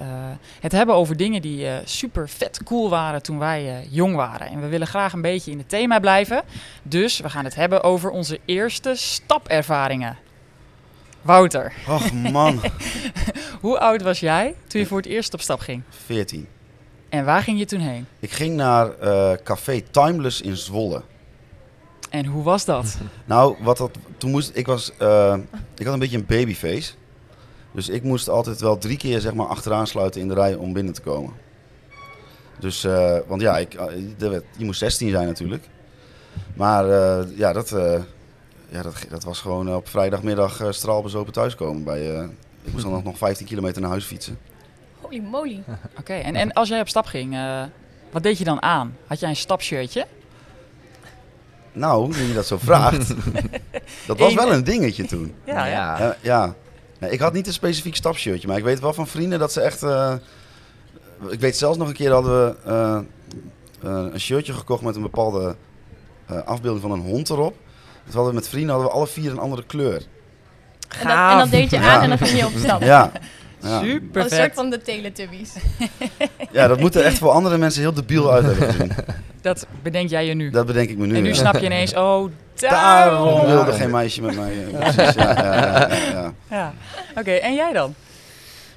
Speaker 1: het hebben over dingen die eh, super vet cool waren toen wij eh, jong waren. En we willen graag een beetje in het thema blijven. Dus we gaan het hebben over onze eerste stapervaringen. Wouter,
Speaker 4: Ach man,
Speaker 1: hoe oud was jij toen je voor het eerst op stap ging?
Speaker 4: 14.
Speaker 1: En waar ging je toen heen?
Speaker 4: Ik ging naar eh, Café Timeless in Zwolle.
Speaker 1: En hoe was dat?
Speaker 4: Nou, wat dat, toen moest ik was, eh, ik had een beetje een babyface. Dus ik moest altijd wel drie keer zeg maar achteraan sluiten in de rij om binnen te komen. Dus, eh, want ja, ik, eh, er werd- je moest 16 zijn natuurlijk. Maar eh, ja, dat, eh, ja dat, dat was gewoon eh, op vrijdagmiddag eh, straalbezopen thuiskomen. Bij, eh, ik moest dan nog- nog 15 kilometer naar huis fietsen.
Speaker 2: Holy moly.
Speaker 1: Oké, en, en als jij op stap ging, eh, wat deed je dan aan? Had jij een stapshirtje?
Speaker 4: Nou, nu je dat zo vraagt. dat was wel een dingetje toen.
Speaker 5: ja, Nou ja.
Speaker 4: Ja, ja. Nee, ik had niet een specifiek stapshirtje, maar ik weet wel van vrienden dat ze echt. eh, ik weet zelfs nog een keer hadden we eh, eh, een shirtje gekocht met een bepaalde eh, afbeelding van een hond erop. Dat hadden we met vrienden hadden we alle vier een andere kleur.
Speaker 2: En dat, en dat deed je aan
Speaker 4: Ja.
Speaker 2: en dan ging je op stap.
Speaker 4: Ja. Ja.
Speaker 1: Oh. Super
Speaker 2: Een soort van de Teletubbies.
Speaker 4: ja, dat moet er echt voor andere mensen heel debiel uit hebben gezien.
Speaker 1: Dat bedenk jij je nu.
Speaker 4: Dat bedenk ik me nu.
Speaker 1: en nu
Speaker 4: ja.
Speaker 1: snap je ineens, oh, daarom.
Speaker 4: Daarom wilde geen meisje met mij. eh, precies, ja, ja, ja, ja, ja.
Speaker 1: Ja. Oké, en jij dan?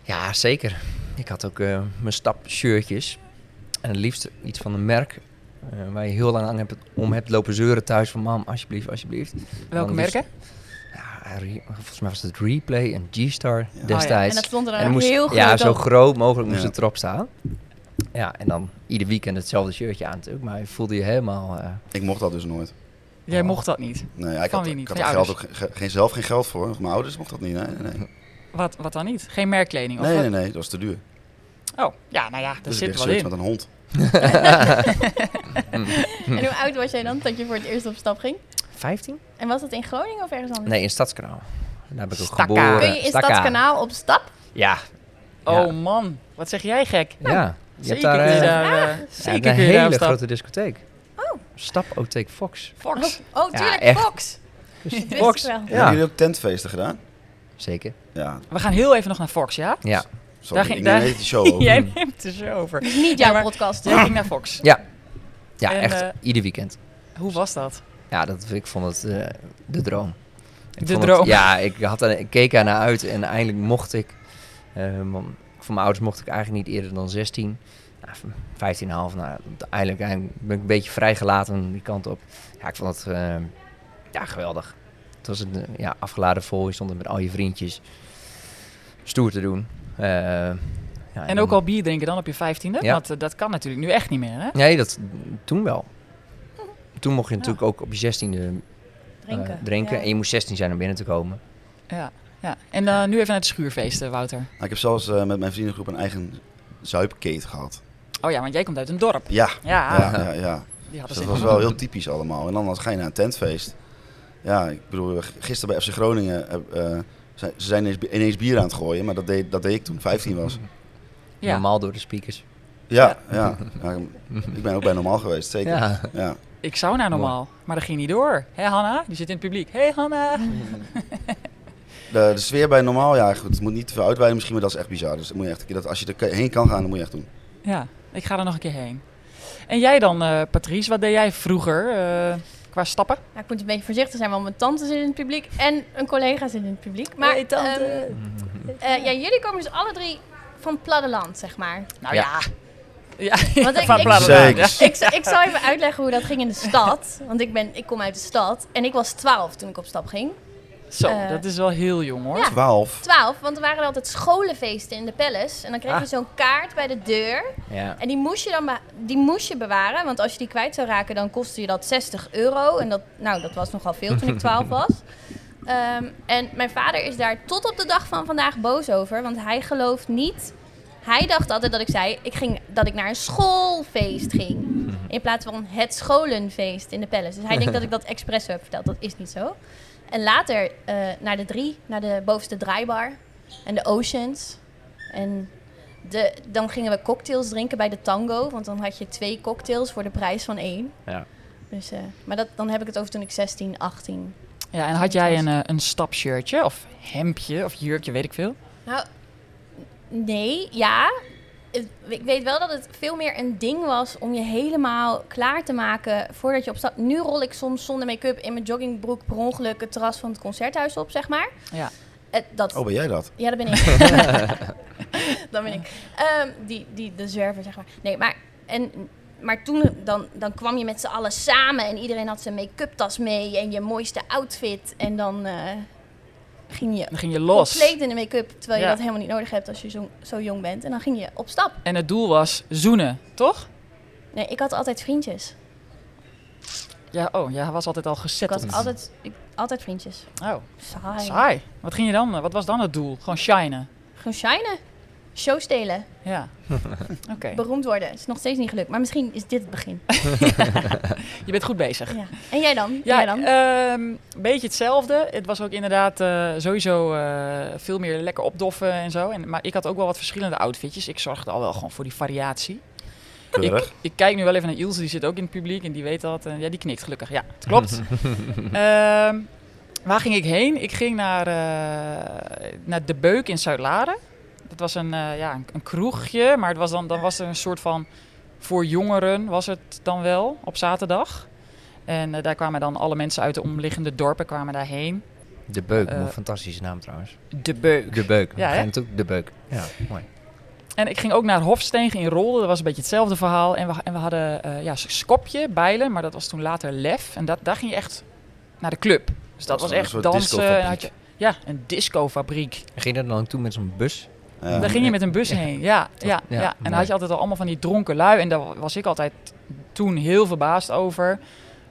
Speaker 5: ja zeker. Ik had ook eh, mijn stapshirtjes. En het liefst iets van een merk eh, waar je heel lang aan hebt, om hebt lopen zeuren thuis van mam, alsjeblieft, alsjeblieft.
Speaker 1: Welke
Speaker 5: liefst-
Speaker 1: merken?
Speaker 5: Ja, re- volgens mij was het Replay en G-Star
Speaker 2: Oh En
Speaker 5: destijds.
Speaker 2: dat stond er
Speaker 5: dan
Speaker 2: dan ook heel groot
Speaker 5: Ja, zo
Speaker 2: op.
Speaker 5: groot mogelijk moest
Speaker 4: Ja.
Speaker 5: het erop staan. Ja, en dan ieder weekend hetzelfde shirtje aan natuurlijk. Maar je voelde je helemaal... eh,
Speaker 4: Ik mocht dat dus nooit.
Speaker 1: Jij
Speaker 5: Oh.
Speaker 1: mocht dat niet.
Speaker 4: Nee, ja, ik
Speaker 1: Van
Speaker 4: had,
Speaker 1: wie niet?
Speaker 4: ik had
Speaker 1: Van
Speaker 4: er
Speaker 1: je
Speaker 4: geld ook, ge- geen, zelf geen geld voor. Mijn ouders mochten dat niet. Nee, nee, nee.
Speaker 1: Wat, wat dan niet? Geen merkkleding? Of
Speaker 4: nee,
Speaker 1: wat?
Speaker 4: nee, nee, dat was te duur.
Speaker 1: Oh, ja, nou ja, daar
Speaker 4: Dus
Speaker 1: zit
Speaker 4: ik deed
Speaker 1: wel
Speaker 4: zoiets
Speaker 1: in.
Speaker 4: met een hond.
Speaker 2: En hoe oud was jij dan dat je voor het eerst op stap ging?
Speaker 5: 15?
Speaker 2: En was dat in Groningen of ergens anders?
Speaker 5: Nee, in Stadskanaal. Daar ben ik ook
Speaker 1: Stakka.
Speaker 5: geboren.
Speaker 2: Kun je in
Speaker 5: Stakka.
Speaker 2: Stadskanaal op stap?
Speaker 5: Ja.
Speaker 1: Oh
Speaker 5: Ja.
Speaker 1: man, wat zeg jij gek?
Speaker 5: ja. Je
Speaker 1: Zeker
Speaker 5: hebt
Speaker 1: kun
Speaker 5: daar
Speaker 2: Dus,
Speaker 1: je
Speaker 5: eh, ja,
Speaker 1: daar, eh,
Speaker 5: je hebt
Speaker 1: zeker
Speaker 5: een
Speaker 1: kun je daar
Speaker 5: hele
Speaker 1: op stap.
Speaker 5: grote discotheek.
Speaker 2: Oh.
Speaker 5: Stapotheek Fox.
Speaker 1: Fox.
Speaker 2: Oh,
Speaker 5: Ja,
Speaker 2: tuurlijk,
Speaker 5: echt.
Speaker 2: Fox. Wist ik
Speaker 5: Fox.
Speaker 2: wel.
Speaker 4: Hebben
Speaker 5: Ja,
Speaker 4: jullie ook tentfeesten gedaan?
Speaker 5: zeker.
Speaker 4: Ja,
Speaker 1: We gaan heel even nog naar Fox, ja?
Speaker 5: Ja.
Speaker 4: sorry,
Speaker 1: ging-
Speaker 4: ik
Speaker 1: daar-
Speaker 4: neem even die
Speaker 5: Oh.
Speaker 4: show over.
Speaker 1: jij neemt er zo over.
Speaker 2: Dus niet jouw
Speaker 1: Ja, maar-
Speaker 2: podcast.
Speaker 1: Jij ging naar Fox.
Speaker 5: Ja,
Speaker 1: En,
Speaker 5: echt
Speaker 1: eh,
Speaker 5: ieder weekend.
Speaker 1: Hoe was dat?
Speaker 5: Ja, dat, ik vond het eh, de droom. Ik
Speaker 1: De
Speaker 5: vond
Speaker 1: droom.
Speaker 5: Het, ja, ik, had, er- ik keek ernaar uit en eindelijk mocht ik. eh, want van mijn ouders mocht ik eigenlijk niet eerder dan 16. Nou, van 15,5. Nou, eindelijk, eindelijk ben ik een beetje vrijgelaten die kant op. Ja, ik vond het eh, ja, geweldig. Het was een eh, ja, afgeladen vol. Je stond er met al je vriendjes stoer te doen. Eh, ja,
Speaker 1: En
Speaker 5: dan-
Speaker 1: ook al bier drinken dan op je vijftiende?
Speaker 5: Ja.
Speaker 1: Want eh, dat kan natuurlijk nu echt niet meer, hè?
Speaker 5: Nee, dat, toen wel.
Speaker 1: Hm.
Speaker 5: Toen mocht je natuurlijk ook op je 16e eh,
Speaker 2: Drinken.
Speaker 5: drinken. En
Speaker 2: Ja.
Speaker 5: je moest 16 zijn om binnen te komen.
Speaker 1: Ja. Ja. En eh, nu even naar de schuurfeesten, Wouter.
Speaker 4: Nou, ik heb zelfs eh, met mijn vriendengroep een eigen zuipkeet gehad.
Speaker 1: Oh ja, want jij komt uit een dorp.
Speaker 4: Ja,
Speaker 1: Ja,
Speaker 4: ja, ja, ja.
Speaker 1: die hadden
Speaker 4: Dus
Speaker 1: ze in
Speaker 4: dat was
Speaker 1: Amsterdam.
Speaker 4: wel heel typisch allemaal. En dan had- ga je naar een tentfeest. Ja, ik bedoel, g- gisteren bij FC Groningen... eh, eh, zijn- ze zijn ineens, ineens bier aan het gooien, maar dat deed, dat deed ik toen ik 15 was.
Speaker 1: Ja.
Speaker 5: Normaal door de speakers.
Speaker 4: Ja, ja. ja, ik ben ook bij normaal geweest, zeker. Ja.
Speaker 5: Ja,
Speaker 1: Ik zou naar normaal, maar dat ging niet door. Hé Hanna, die zit in het publiek. Hé hey, Hanna.
Speaker 4: De, de sfeer bij normaal, ja goed, het moet niet te veel uitweiden misschien, maar dat is echt bizar. Dus dat moet je echt, een keer- dat, als je er heen kan gaan, dan moet je echt doen.
Speaker 1: Ja, ik ga er nog een keer heen. En jij dan, eh, Patrice, wat deed jij vroeger eh, qua stappen?
Speaker 2: Nou, ik moet een beetje voorzichtig zijn, want mijn tante zit in het publiek en een collega zit in het publiek. Maar ehm, eh, ja, jullie komen dus alle drie van het platteland, zeg maar.
Speaker 1: Nou ja.
Speaker 5: Ja.
Speaker 1: ja.
Speaker 2: Want ik-
Speaker 1: Van
Speaker 2: ik-
Speaker 1: Platteland,
Speaker 4: Zeker.
Speaker 1: ja.
Speaker 2: ik, zal- ik zal even uitleggen hoe dat ging in de stad. Want ik, ben, ik kom uit de stad en ik was 12 toen ik op stap ging.
Speaker 1: Zo,
Speaker 2: Eh,
Speaker 1: dat is wel heel jong hoor.
Speaker 2: ja.
Speaker 4: 12.
Speaker 2: 12, want er waren altijd scholenfeesten in de Palace. En dan kreeg je
Speaker 5: Ah.
Speaker 2: zo'n kaart bij de deur.
Speaker 5: ja.
Speaker 2: En die moest, je dan be- die moest je bewaren, want als je die kwijt zou raken, dan kostte je dat 60 euro. En dat, nou, dat was nogal veel toen ik 12 was. Ehm, en mijn vader is daar tot op de dag van vandaag boos over, want hij gelooft niet. Hij dacht altijd dat ik zei ik ging, dat ik naar een schoolfeest ging. In plaats van het scholenfeest in de Palace. Dus hij denkt dat ik dat expres zo heb verteld. Dat is niet zo. En later eh, naar de drie, naar de bovenste draaibar. En de Oceans. En de, dan gingen we cocktails drinken bij de tango. Want dan had je twee cocktails voor de prijs van één.
Speaker 5: Ja.
Speaker 2: Dus, eh, maar dat, dan heb ik het over toen ik 16, 18.
Speaker 1: Ja, en had jij een, eh, een stapshirtje of hemdje of jurkje, weet ik veel?
Speaker 2: Nou, nee, ja. Het- Ik weet wel dat het veel meer een ding was om je helemaal klaar te maken voordat je op stap. Nu rol ik soms zonder make-up in mijn joggingbroek per ongeluk het terras van het concerthuis op, zeg maar.
Speaker 1: Ja.
Speaker 2: Het, dat,
Speaker 4: Oh, ben jij dat?
Speaker 2: Ja, dat ben ik. dat ben ik. Ehm, die, die, de zwerver, zeg maar. Nee, maar, en, maar toen dan, dan kwam je met z'n allen samen en iedereen had zijn make-up tas mee en je mooiste outfit. En dan eh, ging je
Speaker 1: Dan ging je los.
Speaker 2: compleet in de make-up, terwijl je
Speaker 1: Ja.
Speaker 2: dat helemaal niet nodig hebt als je zo, zo jong bent. En dan ging je op stap.
Speaker 1: En het doel was zoenen, toch?
Speaker 2: Nee, ik had altijd vriendjes.
Speaker 1: Ja, oh, jij was altijd al gezet.
Speaker 2: Ik Ah,
Speaker 1: op
Speaker 2: had
Speaker 1: het-
Speaker 2: altijd, ik, altijd vriendjes.
Speaker 1: Oh,
Speaker 2: Saai.
Speaker 1: saai. Wat ging je dan? eh, Wat was dan het doel? Gewoon shinen.
Speaker 2: Gewoon shinen. Show stelen.
Speaker 1: Ja. Oké.
Speaker 2: Beroemd worden. Is nog steeds niet gelukt. Maar misschien is dit het begin.
Speaker 1: Je bent goed bezig.
Speaker 2: ja. En jij dan? En
Speaker 1: Ja,
Speaker 2: jij dan?
Speaker 1: ehm, een beetje hetzelfde. Het was ook inderdaad eh, sowieso eh, veel meer lekker opdoffen en zo. En, maar ik had ook wel wat verschillende outfitjes. Ik zorgde al wel gewoon voor die variatie.
Speaker 4: Keurig.
Speaker 1: Ik kijk nu wel even naar Ilse, die zit ook in het publiek en die weet dat. En ja, die knikt gelukkig. Ja, het klopt. Ehm, waar ging ik heen? Ik ging naar, eh, naar De Beuk in Zuid-Laren. Dat was een, eh, ja, een, een kroegje, maar het was dan, dan was er een soort van... Voor jongeren was het dan wel, op zaterdag. En eh, daar kwamen dan alle mensen uit de omliggende dorpen kwamen daarheen.
Speaker 5: De Beuk,
Speaker 1: Eh,
Speaker 5: een fantastische naam trouwens.
Speaker 1: De Beuk.
Speaker 5: De Beuk.
Speaker 1: Ja,
Speaker 5: Ja,
Speaker 1: hè?
Speaker 5: natuurlijk De Beuk. Ja, mooi.
Speaker 1: En ik ging ook naar Hofstegen in Rolde. Dat was een beetje hetzelfde verhaal. En we, en we hadden eh ja, Skopje, Bijlen, maar dat was toen later Lef. En dat, daar ging je echt naar de club. Dus dat,
Speaker 4: was
Speaker 1: was
Speaker 4: een
Speaker 1: echt
Speaker 4: soort
Speaker 1: dansen. En
Speaker 4: discofabriek.
Speaker 1: had je, ja, een discofabriek.
Speaker 5: En Ging je daar dan ook toe met zo'n bus?
Speaker 4: Ja.
Speaker 1: Daar ging je met een bus heen. Ja, ja, ja.
Speaker 5: Ja,
Speaker 1: En dan
Speaker 5: mooi.
Speaker 1: had je altijd al allemaal van die dronken lui. En daar was ik altijd toen heel verbaasd over.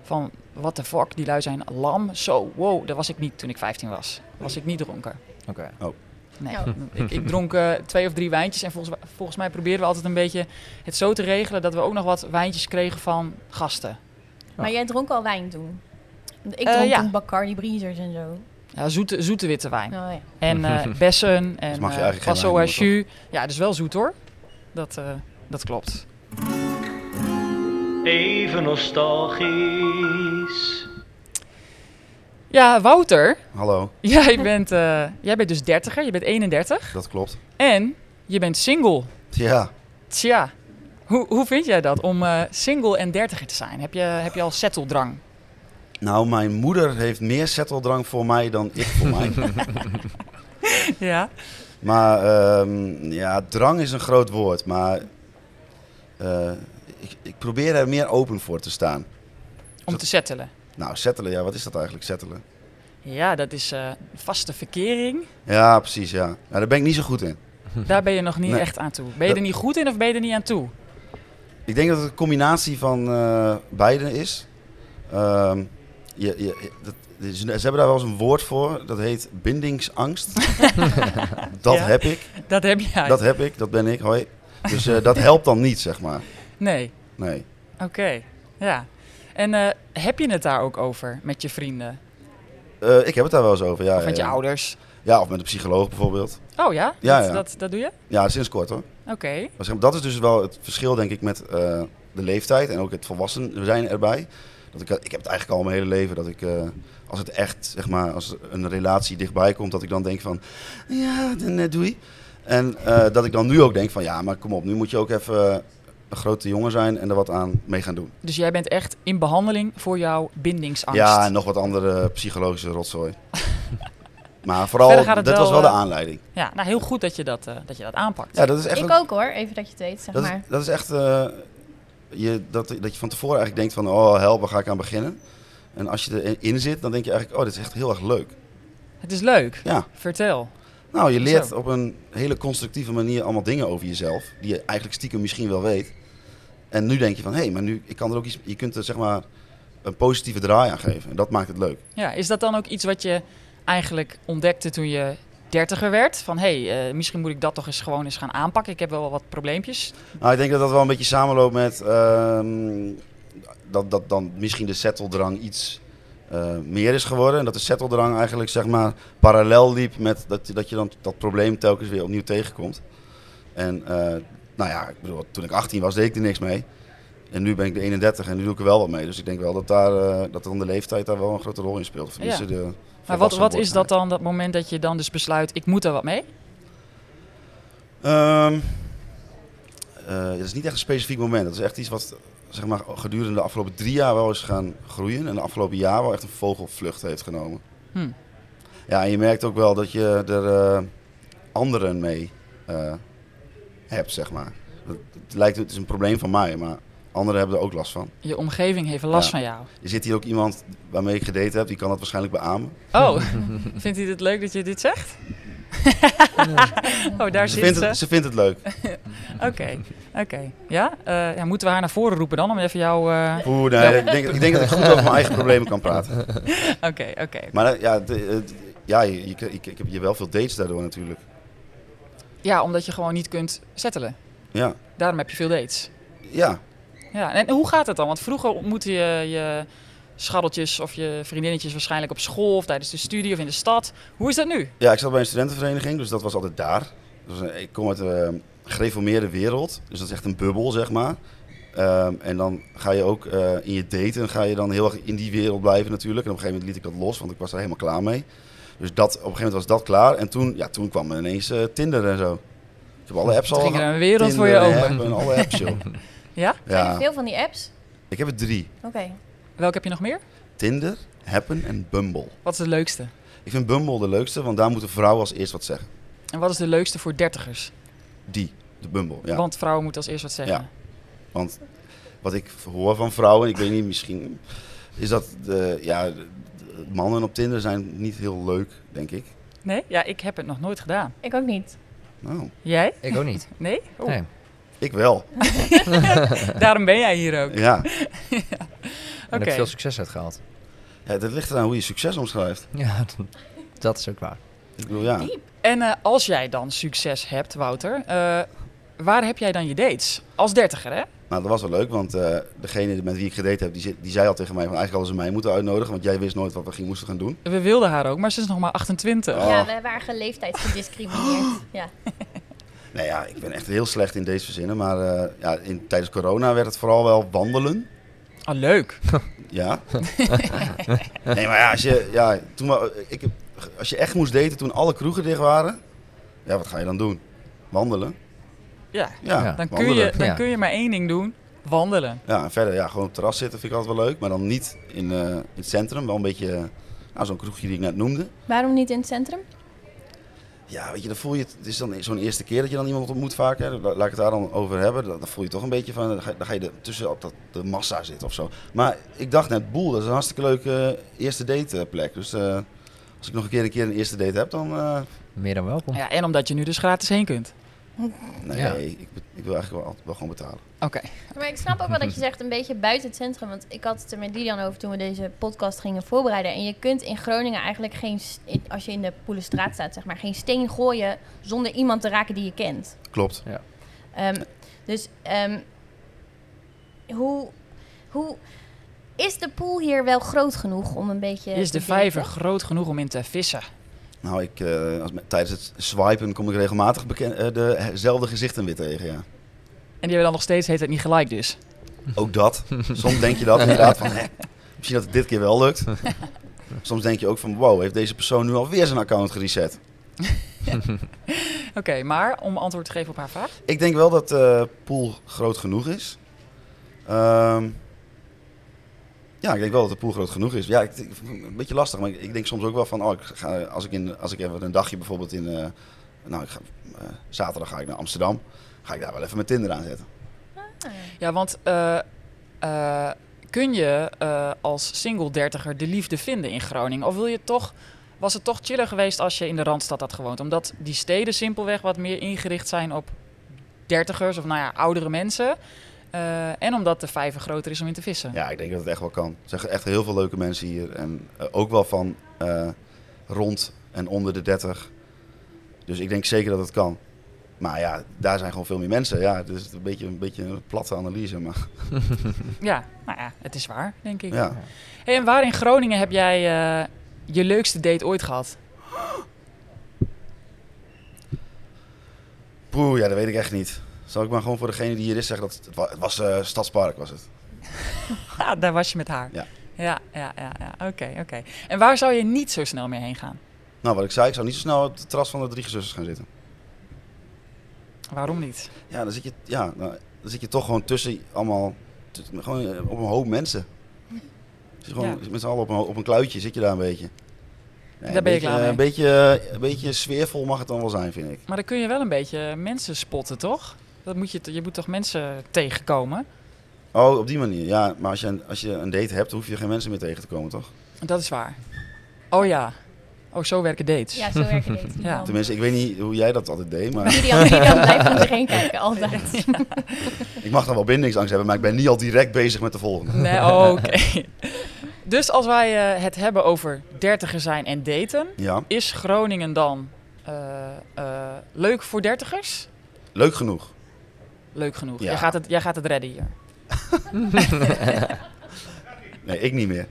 Speaker 1: Van, what the fuck, die lui zijn lam. Zo, wow, dat was ik niet toen ik 15 was. Was ik niet dronken.
Speaker 5: Oké.
Speaker 1: Nee,
Speaker 2: Nou.
Speaker 1: ik, ik dronk eh, twee of drie wijntjes. En volgens, volgens mij probeerden we altijd een beetje het zo te regelen... dat we ook nog wat wijntjes kregen van gasten.
Speaker 2: Maar jij dronk al wijn toen? Want Ik
Speaker 1: Eh,
Speaker 2: dronk
Speaker 1: ja.
Speaker 2: toen Bacardi Breezers en zo.
Speaker 1: Ja, zoete, zoete witte wijn.
Speaker 2: Oh, ja.
Speaker 1: En eh bessen en
Speaker 4: Dus mag je
Speaker 1: eh,
Speaker 4: eigenlijk geen
Speaker 1: Passo
Speaker 4: wijn
Speaker 1: à jus. Ja, dus wel zoet hoor. Dat, eh, dat klopt.
Speaker 6: Even nostalgisch.
Speaker 1: Ja, Wouter,
Speaker 4: Hallo,
Speaker 1: jij bent, eh, jij bent dus dertiger. Je bent 31.
Speaker 4: dat klopt.
Speaker 1: En je bent single.
Speaker 4: Ja,
Speaker 1: Tja, hoe, hoe vind jij dat om eh, single en dertiger te zijn? Heb je, heb je al setteldrang?
Speaker 4: nou mijn moeder heeft meer setteldrang voor mij dan ik voor mij.
Speaker 1: Ja.
Speaker 4: Maar ehm, ja, drang is een groot woord, maar eh, ik, ik probeer er meer open voor te staan.
Speaker 1: Om te settelen.
Speaker 4: Nou, settelen, ja, wat is dat eigenlijk, settelen?
Speaker 1: Ja, dat is eh, vaste verkering.
Speaker 4: Ja, precies, ja. Nou, daar ben ik niet zo goed in.
Speaker 1: Daar ben je nog niet
Speaker 4: Nee.
Speaker 1: echt aan toe. Ben je er
Speaker 4: Dat-
Speaker 1: niet goed in of ben je er niet aan toe?
Speaker 4: Ik denk dat het een combinatie van eh beide is. Ehm, Je, je, je- dat, dus ze hebben daar wel eens een woord voor, dat heet bindingsangst. dat
Speaker 1: Ja.
Speaker 4: heb ik,
Speaker 1: Dat heb jij.
Speaker 4: dat heb ik, dat ben ik, hoi. Dus eh, dat helpt dan niet, zeg maar.
Speaker 1: Nee,
Speaker 4: Nee.
Speaker 1: oké. Ja. En eh, heb je het daar ook over met je vrienden?
Speaker 4: Eh, ik heb het daar wel eens over, ja.
Speaker 1: of met
Speaker 4: ja,
Speaker 1: je
Speaker 4: ja.
Speaker 1: ouders?
Speaker 4: Ja, of met een psycholoog bijvoorbeeld.
Speaker 1: Oh ja?
Speaker 4: Eh. Ja,
Speaker 1: dat,
Speaker 4: ja.
Speaker 1: Dat, dat doe je?
Speaker 4: Ja, sinds kort hoor.
Speaker 1: Oké.
Speaker 4: Maar zeg maar, dat is dus wel het verschil, denk ik, met eh, de leeftijd en ook het volwassen zijn erbij. Dat ik, ik heb het eigenlijk al mijn hele leven dat ik, eh, als het echt, zeg maar, als een relatie dichtbij komt, dat ik dan denk van, ja, dan eh, doei. En eh, dat ik dan nu ook denk van, ja, maar kom op, nu moet je ook even eh, een grote jongen zijn en er wat aan mee gaan doen.
Speaker 1: Dus jij bent echt in behandeling voor jouw bindingsangst.
Speaker 4: Ja, en nog wat andere psychologische rotzooi. maar vooral,
Speaker 1: Verder
Speaker 4: dit
Speaker 1: gaat het
Speaker 4: was
Speaker 1: wel,
Speaker 4: wel de
Speaker 1: eh,
Speaker 4: aanleiding.
Speaker 1: Ja, nou heel goed dat je dat, eh, dat, je dat aanpakt.
Speaker 4: Ja, dat is echt
Speaker 2: ik
Speaker 4: een-
Speaker 2: ook hoor, even dat je het weet, zeg
Speaker 4: Dat is,
Speaker 2: maar.
Speaker 4: dat is echt eh, je, dat, dat je van tevoren eigenlijk denkt van, oh help, waar ga ik aan beginnen? En als je erin zit, dan denk je eigenlijk, oh dit is echt heel erg leuk.
Speaker 1: Het is leuk.
Speaker 4: Ja,
Speaker 1: Vertel.
Speaker 4: nou je leert
Speaker 1: Zo.
Speaker 4: op een hele constructieve manier allemaal dingen over jezelf, die je eigenlijk stiekem misschien wel weet. En nu denk je van, hé, hey, maar nu, ik kan er ook iets, je kunt er zeg maar een positieve draai aan geven. En dat maakt het leuk.
Speaker 1: Ja, is dat dan ook iets wat je eigenlijk ontdekte toen je dertiger werd? Van, hé, hey, eh, misschien moet ik dat toch eens gewoon eens gaan aanpakken. Ik heb wel wat probleempjes.
Speaker 4: Nou, ik denk dat dat wel een beetje samenloopt met ehm, dat, dat dan misschien de settledrang iets eh, meer is geworden. En dat de settledrang eigenlijk zeg maar parallel liep met dat, je- dat je dan dat probleem telkens weer opnieuw tegenkomt. En eh, nou ja, ik bedoel, toen ik 18 was deed ik er niks mee. En nu ben ik de 31 en nu doe ik er wel wat mee. Dus ik denk wel dat, daar, eh, dat dan de leeftijd daar wel een grote rol in speelt. Of tenminste de
Speaker 1: Maar wat, wat is
Speaker 4: volwassenwordenheid.
Speaker 1: dat dan, dat moment dat je dan dus besluit, ik moet er wat mee?
Speaker 4: Ehm eh, dat is niet echt een specifiek moment. Dat is echt iets wat zeg maar, gedurende de afgelopen drie jaar wel is gaan groeien. En de afgelopen jaar wel echt een vogelvlucht heeft genomen.
Speaker 1: Hm.
Speaker 4: Ja, en je merkt ook wel dat je er eh, anderen mee eh, hebt, zeg maar. Het, het lijkt, het is een probleem van mij, maar anderen hebben er ook last van.
Speaker 1: Je omgeving heeft last
Speaker 4: Ja.
Speaker 1: van jou.
Speaker 4: Er zit hier ook iemand waarmee ik gedate heb, die kan dat waarschijnlijk beamen.
Speaker 1: Oh, vindt hij het leuk dat je dit zegt? oh, daar
Speaker 4: Ze
Speaker 1: zit
Speaker 4: vindt
Speaker 1: ze.
Speaker 4: het, ze vindt het leuk.
Speaker 1: Oké, oké. Ja? Eh, ja, moeten we haar naar voren roepen dan om even jou... eh,
Speaker 4: Oeh, nee, ik, denk, ik denk dat ik goed over mijn eigen problemen kan praten.
Speaker 1: Oké, oké.
Speaker 4: Maar eh, ja, de- eh, d- ja je, je, ik, ik heb je wel veel dates daardoor natuurlijk.
Speaker 1: Ja, omdat je gewoon niet kunt settelen.
Speaker 4: Ja,
Speaker 1: Daarom heb je veel dates.
Speaker 4: ja.
Speaker 1: Ja, en hoe gaat het dan? Want vroeger ontmoette je je scharreltjes of je vriendinnetjes waarschijnlijk op school of tijdens de studie of in de stad. Hoe is dat nu?
Speaker 4: ja ik zat bij een studentenvereniging, dus dat was altijd daar. Dat was een- ik kom uit de gereformeerde wereld, dus dat is echt een bubbel, zeg maar. Ehm, en dan ga je ook eh, in je daten, ga je dan heel erg in die wereld blijven natuurlijk. En op een gegeven moment liet ik dat los, want ik was er helemaal klaar mee. Dus dat, op een gegeven moment was dat klaar. En toen, ja, toen kwam ineens eh, Tinder en zo. Ik heb alle apps
Speaker 1: Toen
Speaker 4: al
Speaker 1: ging er
Speaker 4: gehad.
Speaker 1: een wereld voor je
Speaker 4: Tinder en
Speaker 1: open.
Speaker 4: app En alle apps, joh.
Speaker 1: Ja?
Speaker 2: Zijn er
Speaker 4: Ja,
Speaker 2: veel van die apps?
Speaker 4: ik heb er drie.
Speaker 2: Oké.
Speaker 1: Welke heb je nog meer?
Speaker 4: Tinder, Happen en Bumble.
Speaker 1: Wat is de leukste?
Speaker 4: Ik vind Bumble de leukste, want daar moeten vrouwen als eerst wat zeggen.
Speaker 1: En wat is de leukste voor dertigers?
Speaker 4: Die, de Bumble. Ja. Want,
Speaker 1: Want vrouwen moeten als eerst wat zeggen.
Speaker 4: Ja. wat ik hoor van vrouwen, ik weet niet, misschien is dat de, ja, de- de mannen op Tinder zijn niet heel leuk, denk ik.
Speaker 1: Nee? Ja, ik heb het nog nooit gedaan.
Speaker 2: Ik ook niet.
Speaker 4: Nou,
Speaker 1: Jij?
Speaker 5: Ik ook niet.
Speaker 1: Nee? Oh,
Speaker 5: Nee.
Speaker 4: ik wel.
Speaker 1: Daarom ben jij hier ook.
Speaker 4: Ja,
Speaker 5: En ik heb veel succes uitgehaald.
Speaker 4: het het ligt eraan hoe je succes omschrijft.
Speaker 5: Ja, dat is ook waar.
Speaker 4: Ik bedoel, ja.
Speaker 1: En eh, als jij dan succes hebt, Wouter, eh, waar heb jij dan je dates? Als dertiger, hè?
Speaker 4: Nou, dat was wel leuk, want eh, degene met wie ik gedate heb, die, ze- die zei al tegen mij van eigenlijk hadden ze mij moeten uitnodigen, want jij wist nooit wat we ging, moesten gaan doen.
Speaker 1: We wilden haar ook, maar ze is nog maar 28.
Speaker 4: Oh.
Speaker 2: Ja, we waren leeftijd gediscrimineerd. Ja.
Speaker 4: Nou ja, ik ben echt heel slecht in deze verzinnen, maar eh, ja, in, tijdens corona werd het vooral wel wandelen.
Speaker 1: Oh, leuk.
Speaker 4: Ja. nee, maar ja, als je, ja, toen, wa- ik, heb- als je echt moest daten toen alle kroegen dicht waren, ja, wat ga je dan doen? Wandelen?
Speaker 1: Ja.
Speaker 4: Ja,
Speaker 5: Ja.
Speaker 1: Dan, kun
Speaker 4: wandelen.
Speaker 1: je, dan
Speaker 5: Ja.
Speaker 1: kun je maar één ding doen. Wandelen.
Speaker 4: Ja, en verder, ja, gewoon op het terras zitten vind ik altijd wel leuk, maar dan niet in, eh, in het centrum, wel een beetje, eh, nou, zo'n kroegje die ik net noemde.
Speaker 2: Waarom niet in het centrum?
Speaker 4: Ja, weet je, dan voel je het, het is dan zo'n eerste keer dat je dan iemand ontmoet vaak, hè, la- laat ik het daar dan over hebben, dan, dan voel je toch een beetje van, dan ga, je- dan ga je er tussen op dat, de massa zitten of zo. Maar ik dacht net, boel, dat is een hartstikke leuke eh, eerste dateplek, dus... eh, als ik nog een keer een keer een eerste date heb, dan eh,
Speaker 5: Meer dan welkom.
Speaker 1: Ja, en omdat je nu dus gratis heen kunt.
Speaker 4: Nee,
Speaker 5: Ja.
Speaker 4: ik, ik wil eigenlijk wel, altijd wel gewoon betalen.
Speaker 1: Oké,
Speaker 2: Maar ik snap ook wel dat je zegt een beetje buiten het centrum. Want ik had het er met Lilian over toen we deze podcast gingen voorbereiden. En je kunt in Groningen eigenlijk geen, s- in- als je in de Poelenstraat staat, zeg maar, geen steen gooien zonder iemand te raken die je kent.
Speaker 4: Klopt.
Speaker 2: Ehm, dus ehm, hoe, hoe is de pool hier wel groot genoeg om een beetje.
Speaker 1: Is
Speaker 2: te
Speaker 1: de vijver
Speaker 2: daten?
Speaker 1: groot genoeg om in te vissen?
Speaker 4: Nou, ik, eh, als, me- tijdens het swipen kom ik regelmatig beken- eh, dezelfde gezichten weer tegen, ja.
Speaker 1: En die hebben dan nog steeds heet het niet gelijk dus.
Speaker 4: Ook dat. Soms denk je dat inderdaad van, hè, misschien dat het dit keer wel lukt. Soms denk je ook van, wow, heeft deze persoon nu alweer zijn account gereset?
Speaker 1: Oké, maar om antwoord te geven op haar vraag.
Speaker 4: Ik denk wel dat de pool groot genoeg is. Ehm, ja, ik denk wel dat de pool groot genoeg is. Ja, ik, ik vind het een beetje lastig, maar ik, ik denk soms ook wel van, oh, ik ga, als, ik in, als ik even een dagje bijvoorbeeld in, eh, nou, ik ga, eh, zaterdag ga ik naar Amsterdam, ga ik daar wel even mijn Tinder aanzetten.
Speaker 1: Ja, want eh, eh, kun je eh, als single dertiger de liefde vinden in Groningen? Of wil je toch, was het toch chiller geweest als je in de Randstad had gewoond? Omdat die steden simpelweg wat meer ingericht zijn op dertigers of nou ja, oudere mensen. Eh, en omdat de vijver groter is om in te vissen.
Speaker 4: Ja, ik denk dat het echt wel kan. Er zijn echt heel veel leuke mensen hier. En eh, ook wel van eh, rond en onder de 30. Dus ik denk zeker dat het kan. Maar ja, daar zijn gewoon veel meer mensen. Ja, het is een beetje een, beetje een platte analyse. Maar
Speaker 1: Ja, nou ja, het is waar, denk ik.
Speaker 4: ja.
Speaker 1: Hey, en waar in Groningen heb jij eh, je leukste date ooit gehad?
Speaker 4: Poeh, ja, dat weet ik echt niet. Zal ik maar gewoon voor degene die hier is zeggen dat het, het wa- het was eh, Stadspark was het.
Speaker 1: Ha, daar was je met haar.
Speaker 4: Ja.
Speaker 1: Ja, ja, ja, ja. Oké, oké. En waar zou je niet zo snel meer heen gaan?
Speaker 4: Nou, wat ik zei, ik zou niet zo snel op de terras van de drie gezusters gaan zitten.
Speaker 1: Waarom niet?
Speaker 4: Ja, dan zit je, ja, nou, dan zit je toch gewoon tussen allemaal, t- gewoon eh, op een hoop mensen. Dus gewoon met z'n allen op een, ho- op een kluitje zit je daar een beetje. Nee,
Speaker 1: Daar
Speaker 4: een
Speaker 1: ben je
Speaker 4: beetje,
Speaker 1: klaar mee.
Speaker 4: Een beetje, eh, een beetje sfeervol mag het dan wel zijn, vind ik.
Speaker 1: Maar dan kun je wel een beetje mensen spotten, toch? Dat moet je, t- je moet toch mensen tegenkomen?
Speaker 4: Oh, op die manier. Ja, maar als je, een- als je een date hebt, hoef je geen mensen meer tegen te komen, toch?
Speaker 1: Dat is waar. Oh ja. Oh, zo werken dates.
Speaker 2: Ja, zo werken dit.
Speaker 1: Ja.
Speaker 4: Tenminste, ik weet niet hoe jij dat altijd deed, maar
Speaker 2: Lilian, Lilian blijft om zich heen kijken, altijd.
Speaker 4: ik mag dan wel bindingsangst hebben, maar ik ben niet al direct bezig met de volgende.
Speaker 1: Nee, oh, oké. Dus als wij eh, het hebben over dertiger zijn en daten,
Speaker 4: Ja,
Speaker 1: is Groningen dan eh, eh, leuk voor dertigers?
Speaker 4: leuk genoeg.
Speaker 1: Leuk genoeg.
Speaker 4: Ja.
Speaker 1: Jij, gaat het, jij gaat het redden hier.
Speaker 4: Nee, ik niet meer.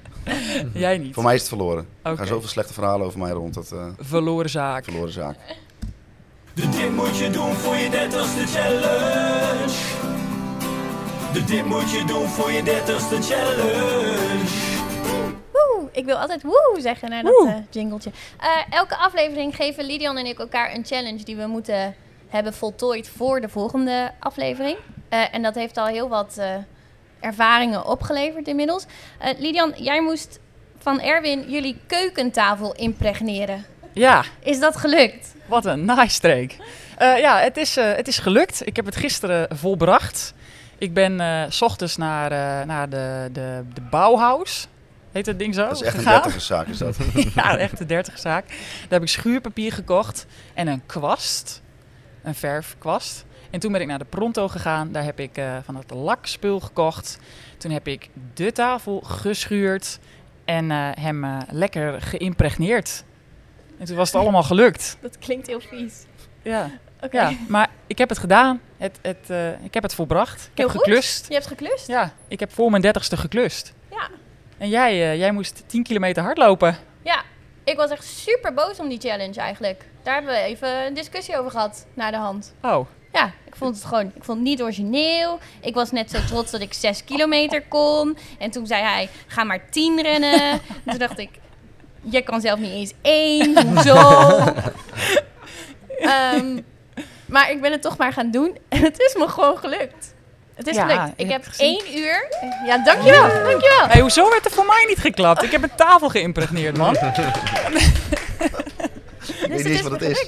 Speaker 1: Jij niet.
Speaker 4: Mhm. Voor mij is het verloren. Er
Speaker 1: Oké.
Speaker 4: gaan zoveel slechte verhalen over mij rond, dat eh,
Speaker 1: Verloren zaak.
Speaker 4: verloren zaak.
Speaker 1: Oh,
Speaker 3: De dit moet je doen voor je dertigste challenge. De dit moet je doen voor je dertigste challenge.
Speaker 2: Woe, ik wil altijd woe zeggen naar dat
Speaker 1: Woe.
Speaker 2: eh, jingletje. Eh, elke aflevering geven Lidian en ik elkaar een challenge die we moeten hebben voltooid voor de volgende aflevering. Eh, en dat heeft al heel wat eh, ervaringen opgeleverd inmiddels. Eh, Lidian, jij moest van Erwin jullie keukentafel impregneren.
Speaker 1: Ja,
Speaker 2: Is dat gelukt?
Speaker 1: wat een nice streek. Eh, ja, het is, eh, het is gelukt. Ik heb het gisteren volbracht. Ik ben eh, s ochtends naar, eh, naar de, de, de Bauhaus. Heet dat ding zo?
Speaker 4: Dat is echt een
Speaker 1: gegaan.
Speaker 4: dertigerszaak, is
Speaker 1: Dus
Speaker 4: dat.
Speaker 1: ja, echt een dertigerszaak. Daar heb ik schuurpapier gekocht en een kwast. Een verfkwast. En toen ben ik naar de Pronto gegaan. Daar heb ik eh, van het lakspul gekocht. Toen heb ik de tafel geschuurd en eh, hem eh, lekker geïmpregneerd. En toen was het allemaal gelukt.
Speaker 2: Dat klinkt heel vies.
Speaker 1: Ja,
Speaker 2: Oké.
Speaker 1: ja. maar ik heb het gedaan. Het, het, eh, ik heb het volbracht. Ik
Speaker 2: Heel
Speaker 1: heb
Speaker 2: goed.
Speaker 1: geklust.
Speaker 2: Je hebt geklust?
Speaker 1: Ja, ik heb voor mijn dertigste geklust.
Speaker 2: Ja.
Speaker 1: En jij, eh, jij moest 10 kilometer hardlopen.
Speaker 2: Ja, ik was echt super boos om die challenge eigenlijk. Daar hebben we even een discussie over gehad, naar de hand.
Speaker 1: Oh,
Speaker 2: Ja, ik vond het gewoon. Ik vond het niet origineel. Ik was net zo trots dat ik 6 kilometer kon. En toen zei hij: ga maar 10 rennen. En toen dacht ik: jij kan zelf niet eens één. Hoezo? Ehm, maar ik ben het toch maar gaan doen. En het is me gewoon gelukt. Het is
Speaker 1: Ja,
Speaker 2: gelukt.
Speaker 1: je
Speaker 2: Ik
Speaker 1: hebt
Speaker 2: heb
Speaker 1: het gezien.
Speaker 2: één uur. Ja, dankjewel. Dankjewel.
Speaker 1: Hey, hoezo werd er voor mij niet geklapt? Ik heb een tafel geïmpregneerd, man.
Speaker 4: Ik weet
Speaker 2: Dus het
Speaker 4: niet eens
Speaker 2: is
Speaker 4: wat het is.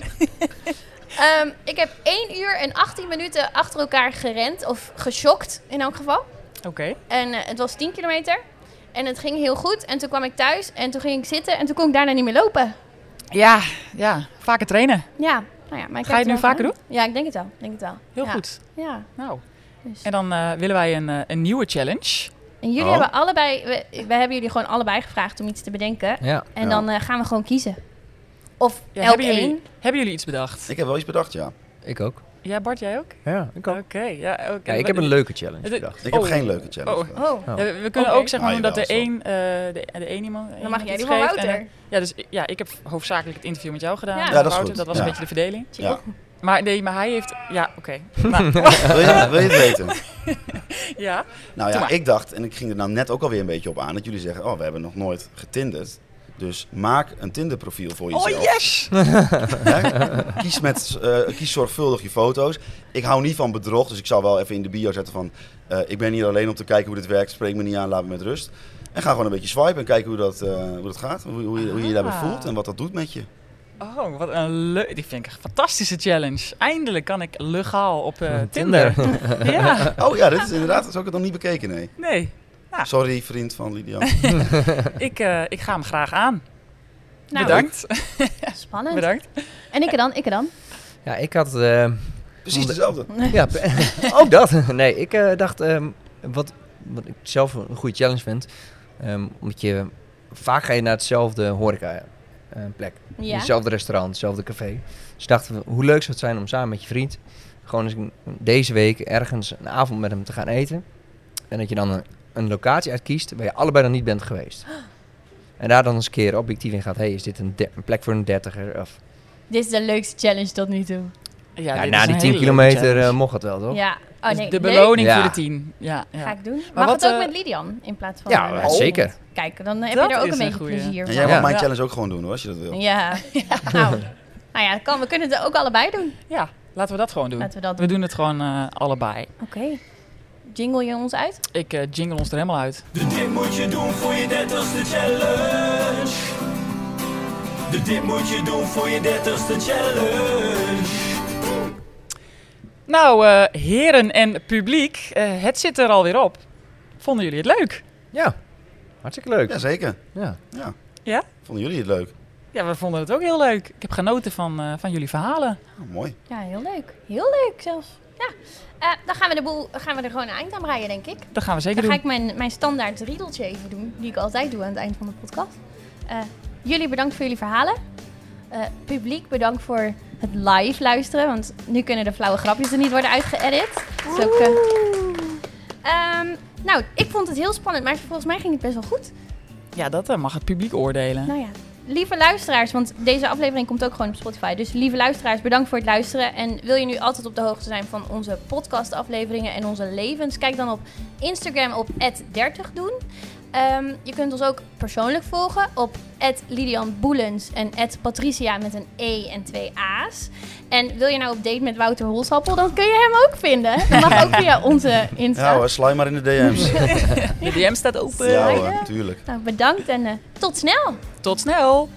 Speaker 2: Ehm, ik heb 1 uur en 18 minuten achter elkaar gerend. Of geschokt in elk geval.
Speaker 1: Oké.
Speaker 2: En eh, het was 10 kilometer. En het ging heel goed. En toen kwam ik thuis en toen ging ik zitten en toen kon ik daarna niet meer lopen.
Speaker 1: Ja, ja, vaker trainen.
Speaker 2: Ja, nou ja. Maar ik
Speaker 1: Ga je
Speaker 2: heb
Speaker 1: het nu
Speaker 2: wel
Speaker 1: vaker
Speaker 2: gedaan. Ja, ik denk het wel. ik Denk het wel.
Speaker 1: Heel
Speaker 2: Ja.
Speaker 1: goed.
Speaker 2: Ja.
Speaker 1: Nou,
Speaker 2: Dus-
Speaker 1: En dan eh, willen wij een, eh, een nieuwe challenge.
Speaker 2: En jullie
Speaker 4: Oh.
Speaker 2: hebben allebei, we, we hebben jullie gewoon allebei gevraagd om iets te bedenken.
Speaker 5: Ja.
Speaker 2: En
Speaker 4: Ja.
Speaker 2: dan eh, gaan we gewoon kiezen. Of
Speaker 1: Ja,
Speaker 2: elk
Speaker 1: hebben,
Speaker 2: één.
Speaker 1: jullie, hebben jullie iets bedacht?
Speaker 4: Ik heb wel iets bedacht, ja.
Speaker 5: Ik ook.
Speaker 1: Ja, Bart, jij ook?
Speaker 5: Ja, ik
Speaker 1: Oké, ja, oké.
Speaker 5: Ja, ik heb een leuke challenge
Speaker 1: Het-
Speaker 5: bedacht.
Speaker 4: Ik
Speaker 1: Oh.
Speaker 4: heb geen leuke challenge.
Speaker 1: Oh.
Speaker 4: bedacht.
Speaker 2: Oh,
Speaker 1: Ja, we, we kunnen
Speaker 2: Oké.
Speaker 1: ook zeg maar
Speaker 4: Ah,
Speaker 1: doen dat de
Speaker 4: jawel, zo.
Speaker 1: één, eh, de, de één iemand.
Speaker 2: dan
Speaker 1: iemand
Speaker 2: mag jij
Speaker 1: iets
Speaker 2: die van
Speaker 1: geeft en,
Speaker 2: Wouter.
Speaker 1: eh, ja, dus ik- ja, ik heb hoofdzakelijk het interview met jou gedaan.
Speaker 2: Ja.
Speaker 1: en
Speaker 2: Ja,
Speaker 4: dat is
Speaker 1: Wouter, dat
Speaker 4: goed.
Speaker 1: was een
Speaker 4: Ja.
Speaker 1: beetje de verdeling.
Speaker 4: Ja.
Speaker 1: Maar nee, maar hij heeft. Ja, oké. Nou,
Speaker 4: Wil, je, wil je het weten?
Speaker 1: ja.
Speaker 4: Nou
Speaker 1: Doe
Speaker 4: ja,
Speaker 1: maar.
Speaker 4: ik dacht, en ik ging er nou net ook alweer een beetje op aan, dat jullie zeggen, oh, we hebben nog nooit getinderd. Dus maak een Tinder-profiel voor
Speaker 1: Oh
Speaker 4: jezelf.
Speaker 1: yes!
Speaker 4: Hè? Kies, met, eh, kies zorgvuldig je foto's. Ik hou niet van bedrog, dus ik zal wel even in de bio zetten van... eh, ik ben hier alleen om te kijken hoe dit werkt, spreek me niet aan, laat me met rust. En ga gewoon een beetje swipen en kijken hoe dat, eh, hoe dat gaat. Hoe, hoe, je, hoe je je daarbij
Speaker 1: Ah.
Speaker 4: voelt en wat dat doet met je.
Speaker 1: Oh, wat een leuk. Die vind ik een fantastische challenge. Eindelijk kan ik legaal op eh,
Speaker 5: Tinder.
Speaker 1: Tinder. ja,
Speaker 4: Oh ja, dit is inderdaad, dat is ook nog niet bekeken, nee.
Speaker 1: nee. Ja.
Speaker 4: Sorry, vriend van Lydia.
Speaker 1: Ik, eh, ik ga hem graag aan.
Speaker 2: nou,
Speaker 1: Bedankt.
Speaker 2: Spannend.
Speaker 1: Bedankt.
Speaker 2: En ik er dan, ik er dan.
Speaker 5: Ja, ik had... eh,
Speaker 4: Precies dezelfde.
Speaker 5: ja, ook dat. Nee, ik eh, dacht... ehm, wat, wat ik zelf een goede challenge vind... ehm, omdat je... Vaak ga je naar hetzelfde horeca eh, plek.
Speaker 2: Ja.
Speaker 5: Hetzelfde restaurant, hetzelfde café. Dus dachten we, hoe leuk zou het zijn om samen met je vriend... gewoon eens een- deze week ergens een avond met hem te gaan eten. En dat je dan een, een locatie uitkiest waar je allebei nog niet bent geweest. En daar dan eens een keer objectief in gaat... hé, hey, is dit een, de- een plek voor een dertiger? Of,
Speaker 2: Dit is de leukste challenge tot nu toe.
Speaker 5: ja,
Speaker 1: dit
Speaker 5: na
Speaker 1: is
Speaker 5: die
Speaker 1: een
Speaker 5: 10
Speaker 1: hele leuke
Speaker 5: kilometer eh,
Speaker 1: challenge.
Speaker 5: mocht het wel, toch?
Speaker 2: Ja. Oh
Speaker 1: Dus
Speaker 2: nee,
Speaker 1: de
Speaker 2: leuk.
Speaker 1: beloning
Speaker 5: Ja.
Speaker 1: voor de tien. Ja, ja.
Speaker 2: Ga ik doen. Maar
Speaker 1: Maar
Speaker 2: Mag
Speaker 1: wat,
Speaker 2: het ook
Speaker 1: eh,
Speaker 2: met Lidian in plaats van...
Speaker 5: Ja,
Speaker 2: eh,
Speaker 5: maar
Speaker 2: Rob?
Speaker 5: zeker.
Speaker 2: Kijk, dan heb
Speaker 1: Dat
Speaker 2: je er ook
Speaker 1: is
Speaker 2: een
Speaker 1: een
Speaker 2: beetje
Speaker 1: goeie.
Speaker 2: plezier
Speaker 4: En
Speaker 2: van.
Speaker 4: jij mag
Speaker 5: Ja.
Speaker 4: mijn challenge ook gewoon doen hoor, als je dat wil.
Speaker 2: Ja. Nou, nou ja, kan, we kunnen het ook allebei doen.
Speaker 1: Ja, laten we dat gewoon doen.
Speaker 2: Laten we dat
Speaker 1: We
Speaker 2: doen.
Speaker 1: doen het gewoon eh, allebei.
Speaker 2: Oké. Jingle je ons uit?
Speaker 1: Ik eh, jingle ons er helemaal uit.
Speaker 3: De dit moet je doen voor je dertigste challenge. De dit moet je doen voor je dertigste challenge.
Speaker 1: Nou, eh, heren en publiek, eh, het zit er alweer op. Vonden jullie het leuk?
Speaker 5: Ja, hartstikke leuk.
Speaker 4: Ja, zeker.
Speaker 5: Ja.
Speaker 4: Ja.
Speaker 1: Ja?
Speaker 4: Vonden jullie het leuk?
Speaker 1: Ja, we vonden het ook heel leuk. Ik heb genoten van, eh, van jullie verhalen.
Speaker 4: Oh, mooi.
Speaker 2: Ja, heel leuk. Heel leuk zelfs. Ja. Eh, dan gaan we, de boel, gaan we er gewoon een eind aan breien, denk ik.
Speaker 1: Dat gaan we zeker
Speaker 2: Dan ga
Speaker 1: doen.
Speaker 2: ik mijn, mijn standaard riedeltje even doen, die ik altijd doe aan het eind van de podcast. Eh, jullie bedankt voor jullie verhalen. Eh, publiek bedankt voor het live luisteren, want nu kunnen de flauwe grapjes er niet worden uitgeëdit. Dat is ook, eh, ehm, nou, ik vond het heel spannend, maar volgens mij ging het best wel goed.
Speaker 1: Ja, dat eh, mag het publiek oordelen.
Speaker 2: Nou ja, lieve luisteraars, want deze aflevering komt ook gewoon op Spotify. Dus lieve luisteraars, bedankt voor het luisteren. En wil je nu altijd op de hoogte zijn van onze podcastafleveringen en onze levens? Kijk dan op Instagram op 30 doen. Ehm, je kunt ons ook persoonlijk volgen op Lidian Boelens en Patricia met een E en twee A's. En wil je nou op date met Wouter Holsappel, dan kun je hem ook vinden. Dat mag ook via onze Insta.
Speaker 4: Ja hoor, slij maar in de DM's.
Speaker 1: De DM staat open.
Speaker 4: ja hoor, natuurlijk.
Speaker 2: nou, bedankt en eh, tot snel!
Speaker 1: Tot snel!